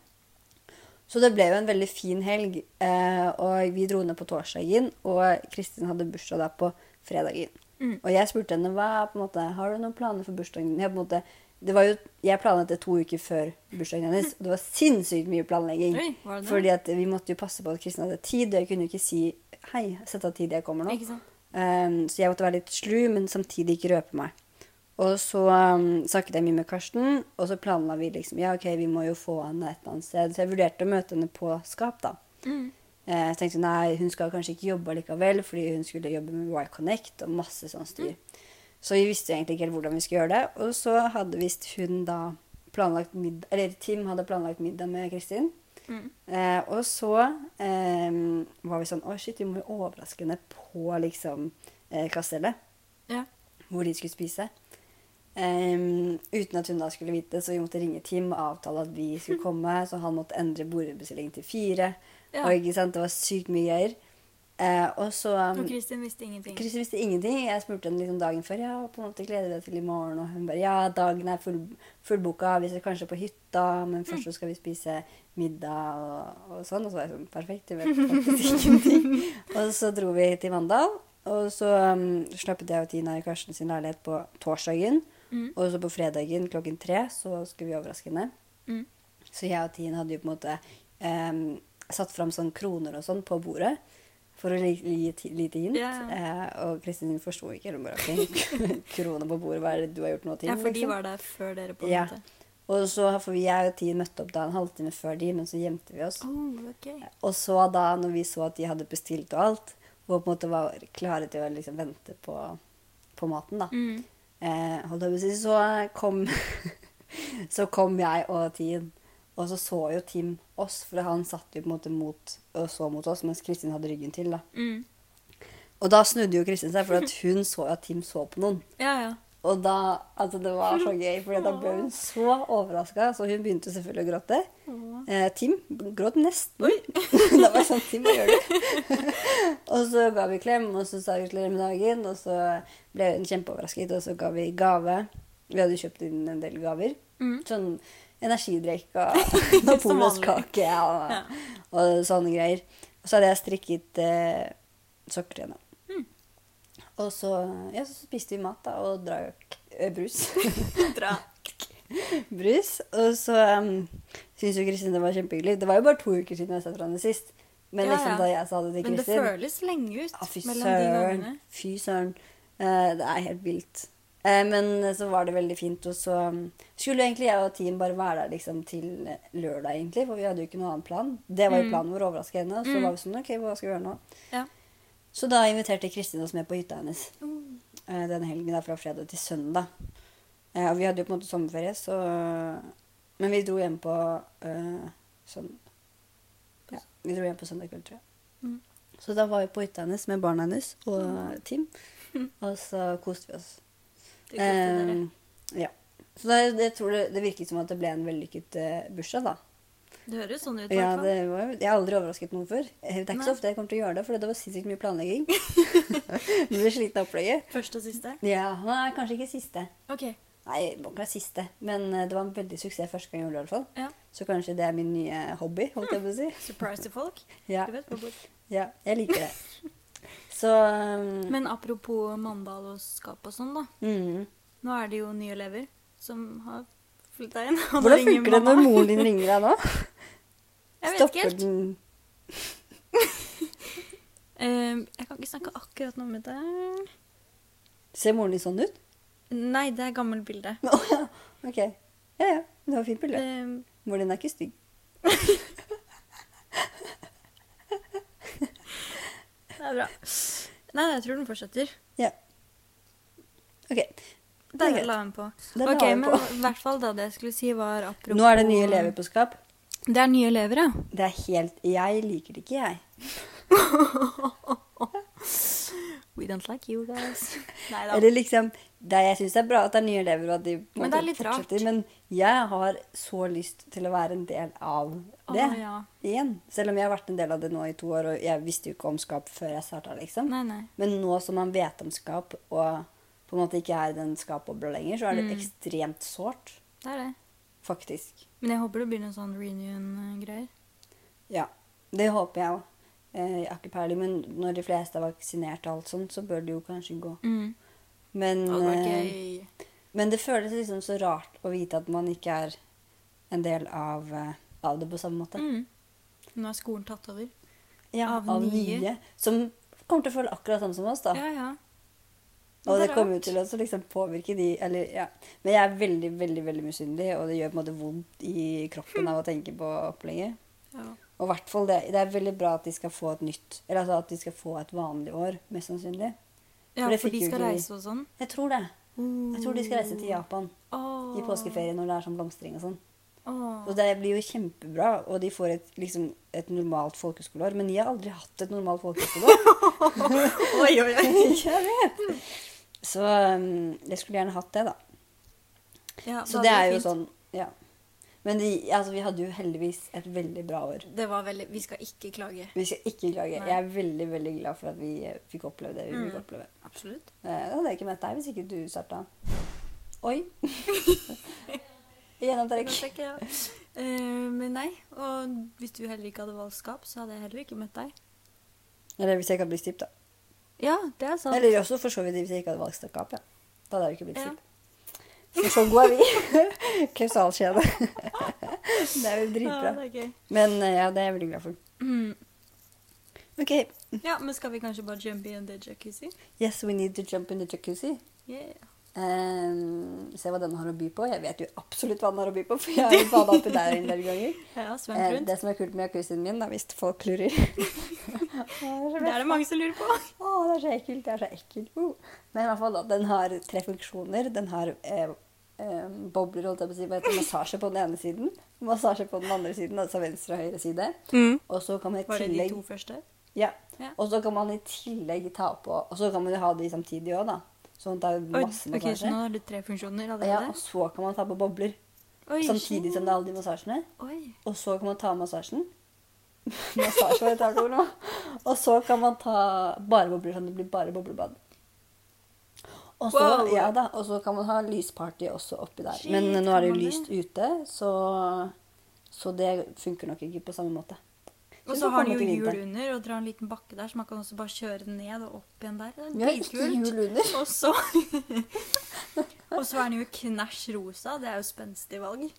Speaker 2: Så det ble jo en veldig fin helg. Eh, og vi dro ned på torsdagen, og Kristin hadde bursdag der på fredagen.
Speaker 3: Mm.
Speaker 2: Og jeg spurte henne hva er på en måte, har du noen planer for bursdagen din. Jeg, på en måte, det var jo, jeg planla det to uker før bursdagen hennes, og det var sinnssykt mye planlegging.
Speaker 3: Oi, var det det?
Speaker 2: fordi at vi måtte jo passe på at Kristin hadde tid, og jeg kunne jo ikke si hei, sett av tid, jeg kommer nå.
Speaker 3: Ikke sant?
Speaker 2: Um, så jeg måtte være litt slu, men samtidig ikke røpe meg. Og så um, snakket jeg mye med Karsten, og så planla vi liksom Ja, OK, vi må jo få henne et eller annet sted. Så jeg vurderte å møte henne på Skap, da.
Speaker 3: Mm.
Speaker 2: Eh, Jeg tenkte nei, hun skal kanskje ikke jobbe likevel, fordi hun skulle jobbe med Y-Connect og masse sånn styr. Så vi visste jo egentlig ikke helt hvordan vi skulle gjøre det. Og så hadde visst hun da planlagt middag Eller Tim hadde planlagt middag med Kristin.
Speaker 3: Mm.
Speaker 2: Eh, og så eh, var vi sånn Å, shit, vi må jo overraske henne på liksom eh, kastellet,
Speaker 3: Ja.
Speaker 2: hvor de skulle spise. Eh, uten at hun da skulle vite, så vi måtte ringe Tim og avtale at vi
Speaker 3: Mm.
Speaker 2: skulle komme. Så han måtte endre bordbestillingen til fire.
Speaker 3: Ja.
Speaker 2: Og ikke sant, det var sykt mye greier. Eh, og så um,
Speaker 3: Og Kristin visste ingenting.
Speaker 2: Kristin visste ingenting. Jeg spurte henne liksom dagen før. Ja, på en måte gleder du deg til i morgen? Og hun bare ja, dagen er full, fullboka. Vi skal kanskje på hytta, men
Speaker 3: Mm.
Speaker 2: først så skal vi spise middag og, og sånn. Og så var jeg sånn perfekt, du vet faktisk ingenting. og så dro vi til Mandal. Og så um, slappet jeg og Tina i Karsten sin leilighet på torsdagen.
Speaker 3: Mm.
Speaker 2: Og så på fredagen klokken tre så skulle vi overraske henne.
Speaker 3: Mm.
Speaker 2: Så jeg og Tien hadde jo på en måte em, satt fram sånn kroner og sånn på bordet for å li- gi et lite hint.
Speaker 3: Ja,
Speaker 2: Eh, og Kristin forsto ikke. Hun bare OK, kroner på bordet, hva er det du har gjort nå, Tien?
Speaker 3: Ja, for de
Speaker 2: liksom?
Speaker 3: var der før dere, på en
Speaker 2: Ja.
Speaker 3: måte.
Speaker 2: Og så har- for jeg og Tien møtte opp da en halvtime før de, men så gjemte vi oss.
Speaker 3: Oh, ok.
Speaker 2: Og så da, når vi så at de hadde bestilt og alt, og på en måte var klare til å liksom vente på, på maten, da,
Speaker 3: Mm.
Speaker 2: eh, holdt jeg på å si, så kom, så kom jeg og Tin. Og så så jo Tim oss, for han satt jo på en måte mot, og så mot oss, mens Kristin hadde ryggen til. da.
Speaker 3: Mm.
Speaker 2: Og da snudde jo Kristin seg, for at hun så jo at Tim så på noen.
Speaker 3: Ja, ja.
Speaker 2: Og da, altså Det var så gøy, for da ble hun så overraska, så hun begynte selvfølgelig å gråte. Eh, Tim gråt nesten. da var jeg sånn Tim, hva gjør du? og så ga vi klem, og så sa vi gratulerer med dagen, og så ble hun kjempeoverrasket, og så ga vi gave. Vi hadde kjøpt inn en del gaver.
Speaker 3: Mm.
Speaker 2: Sånn energidrikk og napoleonskake ja, og,
Speaker 3: Ja.
Speaker 2: og sånne greier. Og så hadde jeg strikket eh, sokker til henne. Og så, ja, så spiste vi mat da, og drakk eh, brus.
Speaker 3: Dra.
Speaker 2: brus. Og så um, syntes jo Kristin det var kjempehyggelig. Det var jo bare to uker siden jeg har sett hverandre sist. Men
Speaker 3: Ja,
Speaker 2: liksom
Speaker 3: ja.
Speaker 2: da jeg sa det til
Speaker 3: Men det
Speaker 2: Kristin
Speaker 3: føles lenge ut
Speaker 2: ah, Fy
Speaker 3: mellom de
Speaker 2: søren.
Speaker 3: gangene.
Speaker 2: Fy søren. Eh, det er helt vilt. Eh, men så var det veldig fint, og så um, skulle egentlig jeg og team bare være der liksom til lørdag, egentlig. For vi hadde jo ikke noen annen plan. Det var jo
Speaker 3: Mm.
Speaker 2: planen vår å overraske henne. Så
Speaker 3: Mm.
Speaker 2: var vi sånn OK, hva skal vi gjøre nå?
Speaker 3: Ja.
Speaker 2: Så da inviterte Kristin oss med på hytta hennes
Speaker 3: Mm.
Speaker 2: eh, den helgen der fra fredag til søndag. Eh, og vi hadde jo på en måte sommerferie, så Men vi dro hjem på eh, sånn Ja, vi dro hjem på søndag kveld, tror jeg.
Speaker 3: Mm.
Speaker 2: Så da var vi på hytta hennes med barna hennes og Tim, og så koste vi oss.
Speaker 3: Det koste dere.
Speaker 2: Eh, ja. Så det, det, tror det, det virket som at det ble en vellykket eh, bursdag, da.
Speaker 3: Det høres sånn ut. i
Speaker 2: Ja,
Speaker 3: hvert fall.
Speaker 2: det var, jeg har aldri overrasket noen før. Eh, Det er ikke
Speaker 3: Nei.
Speaker 2: så ofte jeg kommer til å gjøre det, for det var sinnssykt mye planlegging. Du blir sliten av opplegget.
Speaker 3: Første og siste.
Speaker 2: Ja, nei, kanskje ikke siste.
Speaker 3: Ok.
Speaker 2: Nei, det må ikke være siste, men eh, det var en veldig suksess første gang jeg gjorde det. i hvert fall.
Speaker 3: Ja.
Speaker 2: Så kanskje det er min nye hobby. holdt jeg på å si.
Speaker 3: Surprise til folk.
Speaker 2: Ja,
Speaker 3: Du vet, på bord.
Speaker 2: ja jeg liker det. Så um,
Speaker 3: Men apropos Mandal og skap og sånn, da.
Speaker 2: mm.
Speaker 3: Nå er det jo nye elever som har flytta inn. og nå
Speaker 2: Hvordan
Speaker 3: ringer
Speaker 2: funker det
Speaker 3: mamma.
Speaker 2: når moren din ringer deg nå?
Speaker 3: Jeg vet ikke
Speaker 2: Stopper
Speaker 3: helt.
Speaker 2: den
Speaker 3: Eh, jeg kan ikke snakke akkurat nå om det.
Speaker 2: Ser moren din sånn ut?
Speaker 3: Nei, det er gammelt bilde.
Speaker 2: Å ja. Ok. Ja ja. Det var fint bilde.
Speaker 3: Eh,
Speaker 2: Moren din er ikke stygg.
Speaker 3: det er bra. Nei, jeg tror den fortsetter.
Speaker 2: Ja. OK.
Speaker 3: Der
Speaker 2: greit.
Speaker 3: la hun på.
Speaker 2: Den la
Speaker 3: ok,
Speaker 2: hun
Speaker 3: men
Speaker 2: på.
Speaker 3: i hvert fall da det jeg skulle si, var apropos
Speaker 2: Nå er det nye elever på skap.
Speaker 3: Det er nye elever, ja.
Speaker 2: Det er helt Jeg liker det ikke, jeg.
Speaker 3: We don't like you guys. Nei da.
Speaker 2: Eller liksom det, Jeg syns det er bra at det er nye elever, og at de på en
Speaker 3: Men det er
Speaker 2: måte
Speaker 3: litt rart.
Speaker 2: fortsetter, Men jeg har så lyst til å være en del av det
Speaker 3: Å, ja.
Speaker 2: igjen. Selv om jeg har vært en del av det nå i to år, og jeg visste jo ikke om skap før jeg starta, liksom.
Speaker 3: Nei, nei.
Speaker 2: Men nå som man vet om skap, og på en måte ikke er i den skapbobla lenger, så er
Speaker 3: Mm.
Speaker 2: det ekstremt sårt,
Speaker 3: Det er det.
Speaker 2: faktisk.
Speaker 3: Men jeg håper det blir noen sånn reunion-greier.
Speaker 2: Ja, det håper jeg òg. Eh, jeg har ikke peiling, men når de fleste er vaksinert og alt sånt, så bør det jo kanskje gå.
Speaker 3: Mm.
Speaker 2: Men,
Speaker 3: Og det er
Speaker 2: eh,
Speaker 3: gøy.
Speaker 2: men det føles liksom så rart å vite at man ikke er en del av, eh, av det på samme måte.
Speaker 3: Mm. Nå er skolen tatt over.
Speaker 2: Ja,
Speaker 3: av nye.
Speaker 2: Som kommer til å føle akkurat sånn som oss, da.
Speaker 3: Ja, ja.
Speaker 2: og det
Speaker 3: er
Speaker 2: kommer
Speaker 3: rart.
Speaker 2: jo til å også liksom påvirke de eller, ja. Men jeg er veldig, veldig veldig misunnelig, og det gjør på en måte vondt i kroppen av å tenke på opplegget.
Speaker 3: ja.
Speaker 2: Og i hvert fall det, det er veldig bra at de skal få et nytt, eller altså at de skal få et vanlig år, mest sannsynlig.
Speaker 3: Ja,
Speaker 2: For det
Speaker 3: for
Speaker 2: fikk
Speaker 3: de
Speaker 2: jo
Speaker 3: skal
Speaker 2: ikke vi.
Speaker 3: reise og sånn.
Speaker 2: Jeg tror det. Jeg tror de skal reise til Japan
Speaker 3: Åh.
Speaker 2: i påskeferie når det er sånn blomstring og sånn.
Speaker 3: Åh.
Speaker 2: Og det blir jo kjempebra, og de får et, liksom, et normalt folkeskoleår. Men jeg har aldri hatt et normalt folkeskoleår.
Speaker 3: Oi, oi, oi.
Speaker 2: jeg vet! Så um, jeg skulle gjerne hatt det, da.
Speaker 3: Ja, da
Speaker 2: Så det
Speaker 3: var
Speaker 2: er jo
Speaker 3: fint.
Speaker 2: sånn, ja. Men de, altså, vi hadde jo heldigvis et veldig bra år.
Speaker 3: Det var veldig Vi skal ikke klage.
Speaker 2: Vi skal ikke klage.
Speaker 3: Nei.
Speaker 2: Jeg er veldig veldig glad for at vi eh, fikk oppleve det vi
Speaker 3: Mm.
Speaker 2: fikk oppleve.
Speaker 3: Absolutt.
Speaker 2: Eh, Det hadde jeg ikke møtt deg hvis ikke du starta. Oi. Gjennomtrekk.
Speaker 3: ja. Eh, men nei. Og hvis du heller ikke hadde valgt skap, så hadde jeg heller ikke møtt deg.
Speaker 2: Eller hvis jeg ikke hadde blitt stipp, da.
Speaker 3: Ja, det er sant.
Speaker 2: Eller også for så vidt hvis jeg ikke hadde valgt stakkap. Ja. Da hadde jeg jo ikke blitt
Speaker 3: Sånn. Ja.
Speaker 2: stipp. For så god er vi. Kausalkjede. det er jo
Speaker 3: Ja,
Speaker 2: dritbra.
Speaker 3: det er gøy.
Speaker 2: Men eh, ja, det er jeg veldig glad for.
Speaker 3: Mm.
Speaker 2: OK.
Speaker 3: Ja, men skal vi kanskje bare jump i en day jacuzzi?
Speaker 2: Yes, we need to jump in the jacuzzi.
Speaker 3: Yeah.
Speaker 2: Ehm, se hva den har å by på. Jeg vet jo absolutt hva den har å by på, for jeg har jo bada oppi der en del ganger.
Speaker 3: Ja, svømt
Speaker 2: Eh,
Speaker 3: rundt.
Speaker 2: det som er kult med jacuzzien min, er hvis folk lurer.
Speaker 3: Det er det mange som lurer på.
Speaker 2: Å, det er så ekkelt. Det er så ekkelt. Uh. Men i hvert fall, da, den har tre funksjoner. Den har eh, eh, bobler, holdt jeg på å si, hva heter det, massasje på den ene siden, massasje på den andre siden, altså venstre og høyre side. Og så kan man i
Speaker 3: Var det de
Speaker 2: tillegg
Speaker 3: to første?
Speaker 2: ja.
Speaker 3: Ja.
Speaker 2: Og så kan man i tillegg ta på Og så kan man jo ha de samtidig òg, da. Sånn at det
Speaker 3: Oi,
Speaker 2: er masse
Speaker 3: ok, Så
Speaker 2: massasje.
Speaker 3: nå har du tre funksjoner
Speaker 2: ja,
Speaker 3: allerede?
Speaker 2: og så kan man ta på bobler.
Speaker 3: Oi,
Speaker 2: Samtidig som det er alle de massasjene.
Speaker 3: Oi.
Speaker 2: Og så kan man ta massasjen. Massasje var et annet ord nå. Og så kan man ta bare bobler, sånn det blir bare boblebad. Og så,
Speaker 3: Wow.
Speaker 2: ja da, og så kan man ha lysparty også oppi der.
Speaker 3: Shit,
Speaker 2: Men nå er
Speaker 3: kan
Speaker 2: det jo
Speaker 3: man
Speaker 2: lyst ute, så, så det funker nok ikke på samme måte.
Speaker 3: Og
Speaker 2: vi
Speaker 3: så
Speaker 2: får
Speaker 3: har
Speaker 2: komme
Speaker 3: den jo
Speaker 2: til
Speaker 3: hjul
Speaker 2: vinteren.
Speaker 3: under og drar en liten bakke der, så man kan også bare kjøre den ned og opp igjen der. Det er
Speaker 2: Vi har ikke
Speaker 3: dritkult.
Speaker 2: hjul under.
Speaker 3: Og så Og så er den jo knæsj rosa. Det er jo spenstig valg.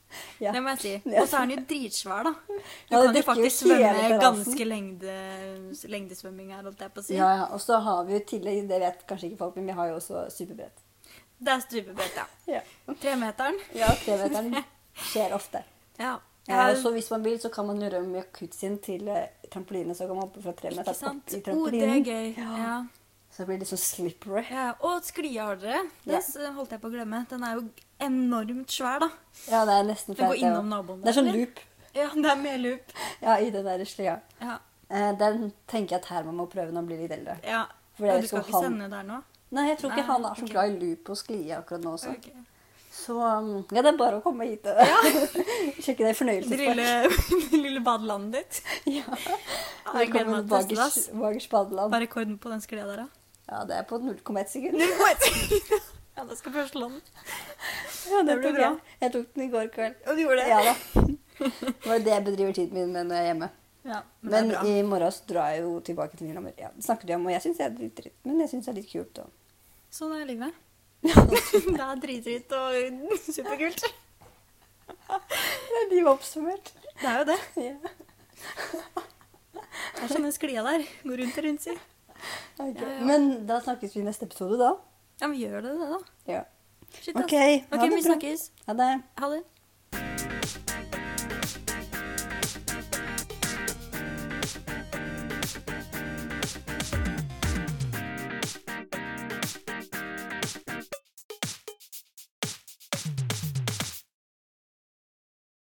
Speaker 2: Ja.
Speaker 3: Det må jeg si.
Speaker 2: Ja.
Speaker 3: Og så er den jo dritsvær, da. Du
Speaker 2: Ja, det
Speaker 3: kan jo
Speaker 2: dekker jo
Speaker 3: faktisk
Speaker 2: hele
Speaker 3: svømme
Speaker 2: terrassen.
Speaker 3: ganske lengde, lengdesvømming her, holdt jeg på å si.
Speaker 2: Ja, ja. Og så har vi jo i tillegg, det vet kanskje ikke folk, men vi har jo også superbrett.
Speaker 3: Det er stupebrett, ja.
Speaker 2: Ja.
Speaker 3: Tremeteren.
Speaker 2: ja tremeteren skjer ofte.
Speaker 3: Ja.
Speaker 2: Ja, og Eh, så hvis man vil, så kan man gjøre om jacuzzien til eh, trampoline. Så kan man hoppe fra tre
Speaker 3: ikke
Speaker 2: meter opp
Speaker 3: sant?
Speaker 2: i
Speaker 3: Oh, det er
Speaker 2: trampolinen.
Speaker 3: gøy. Ja.
Speaker 2: Så det blir litt sånn slippery.
Speaker 3: Ja, og sklia har dere.
Speaker 2: Ja.
Speaker 3: Den s- holdt jeg på å glemme. Den er jo enormt svær, da.
Speaker 2: Ja, det er
Speaker 3: Den
Speaker 2: nesten
Speaker 3: går
Speaker 2: flaut, det
Speaker 3: innom
Speaker 2: også.
Speaker 3: naboen
Speaker 2: Det er sånn
Speaker 3: der, eller?
Speaker 2: loop
Speaker 3: Ja, det er medloop.
Speaker 2: ja, i den der sløya.
Speaker 3: Ja.
Speaker 2: Eh, Den tenker jeg at her man må prøve når man blir litt eldre.
Speaker 3: ja.
Speaker 2: For jeg
Speaker 3: Og du
Speaker 2: skal
Speaker 3: skal ikke
Speaker 2: ha den.
Speaker 3: sende der nå?
Speaker 2: Nei, jeg tror ikke
Speaker 3: Nei,
Speaker 2: han er så
Speaker 3: Ah, ok.
Speaker 2: glad i loop og sklie akkurat nå også.
Speaker 3: Ok.
Speaker 2: Så um, ja, det er bare å komme hit og sjekke
Speaker 3: Det
Speaker 2: det i fornøyelsespark.
Speaker 3: lille, det lille badelandet ditt.
Speaker 2: Ja.
Speaker 3: jeg gleder
Speaker 2: Velkommen
Speaker 3: meg til å teste det,
Speaker 2: Vagers
Speaker 3: ass.
Speaker 2: Vagers badeland.
Speaker 3: Hva er rekorden på den sklia der, da?
Speaker 2: Ja, det er på 0,1 sekund.
Speaker 3: ja, det skal første land.
Speaker 2: Ja,
Speaker 3: det blir bra.
Speaker 2: Jeg. jeg tok den i går kveld.
Speaker 3: Og du gjorde det?
Speaker 2: Ja da. Det var det jeg bedriver tiden min med når jeg er hjemme.
Speaker 3: Ja, men,
Speaker 2: Men
Speaker 3: det er bra.
Speaker 2: i morgen så drar jeg jo tilbake til Lillehammer. Ja, det snakket vi om, og jeg syns det er litt dritt, men jeg syns det er litt kult. Og...
Speaker 3: Sånn er livet. det er dritdritt og superkult.
Speaker 2: Det er livet oppsummert.
Speaker 3: Det er jo det.
Speaker 2: Ja.
Speaker 3: Det er sånn den sklia der. Går rundt og rundt, si.
Speaker 2: ok.
Speaker 3: Ja, ja.
Speaker 2: Men da snakkes vi i neste episode, da.
Speaker 3: Ja, men gjør det det, da?
Speaker 2: Ja.
Speaker 3: Shit, ass.
Speaker 2: OK, ha
Speaker 3: Ok,
Speaker 2: det
Speaker 3: vi
Speaker 2: bra.
Speaker 3: snakkes.
Speaker 2: Ha det.
Speaker 3: Ha det.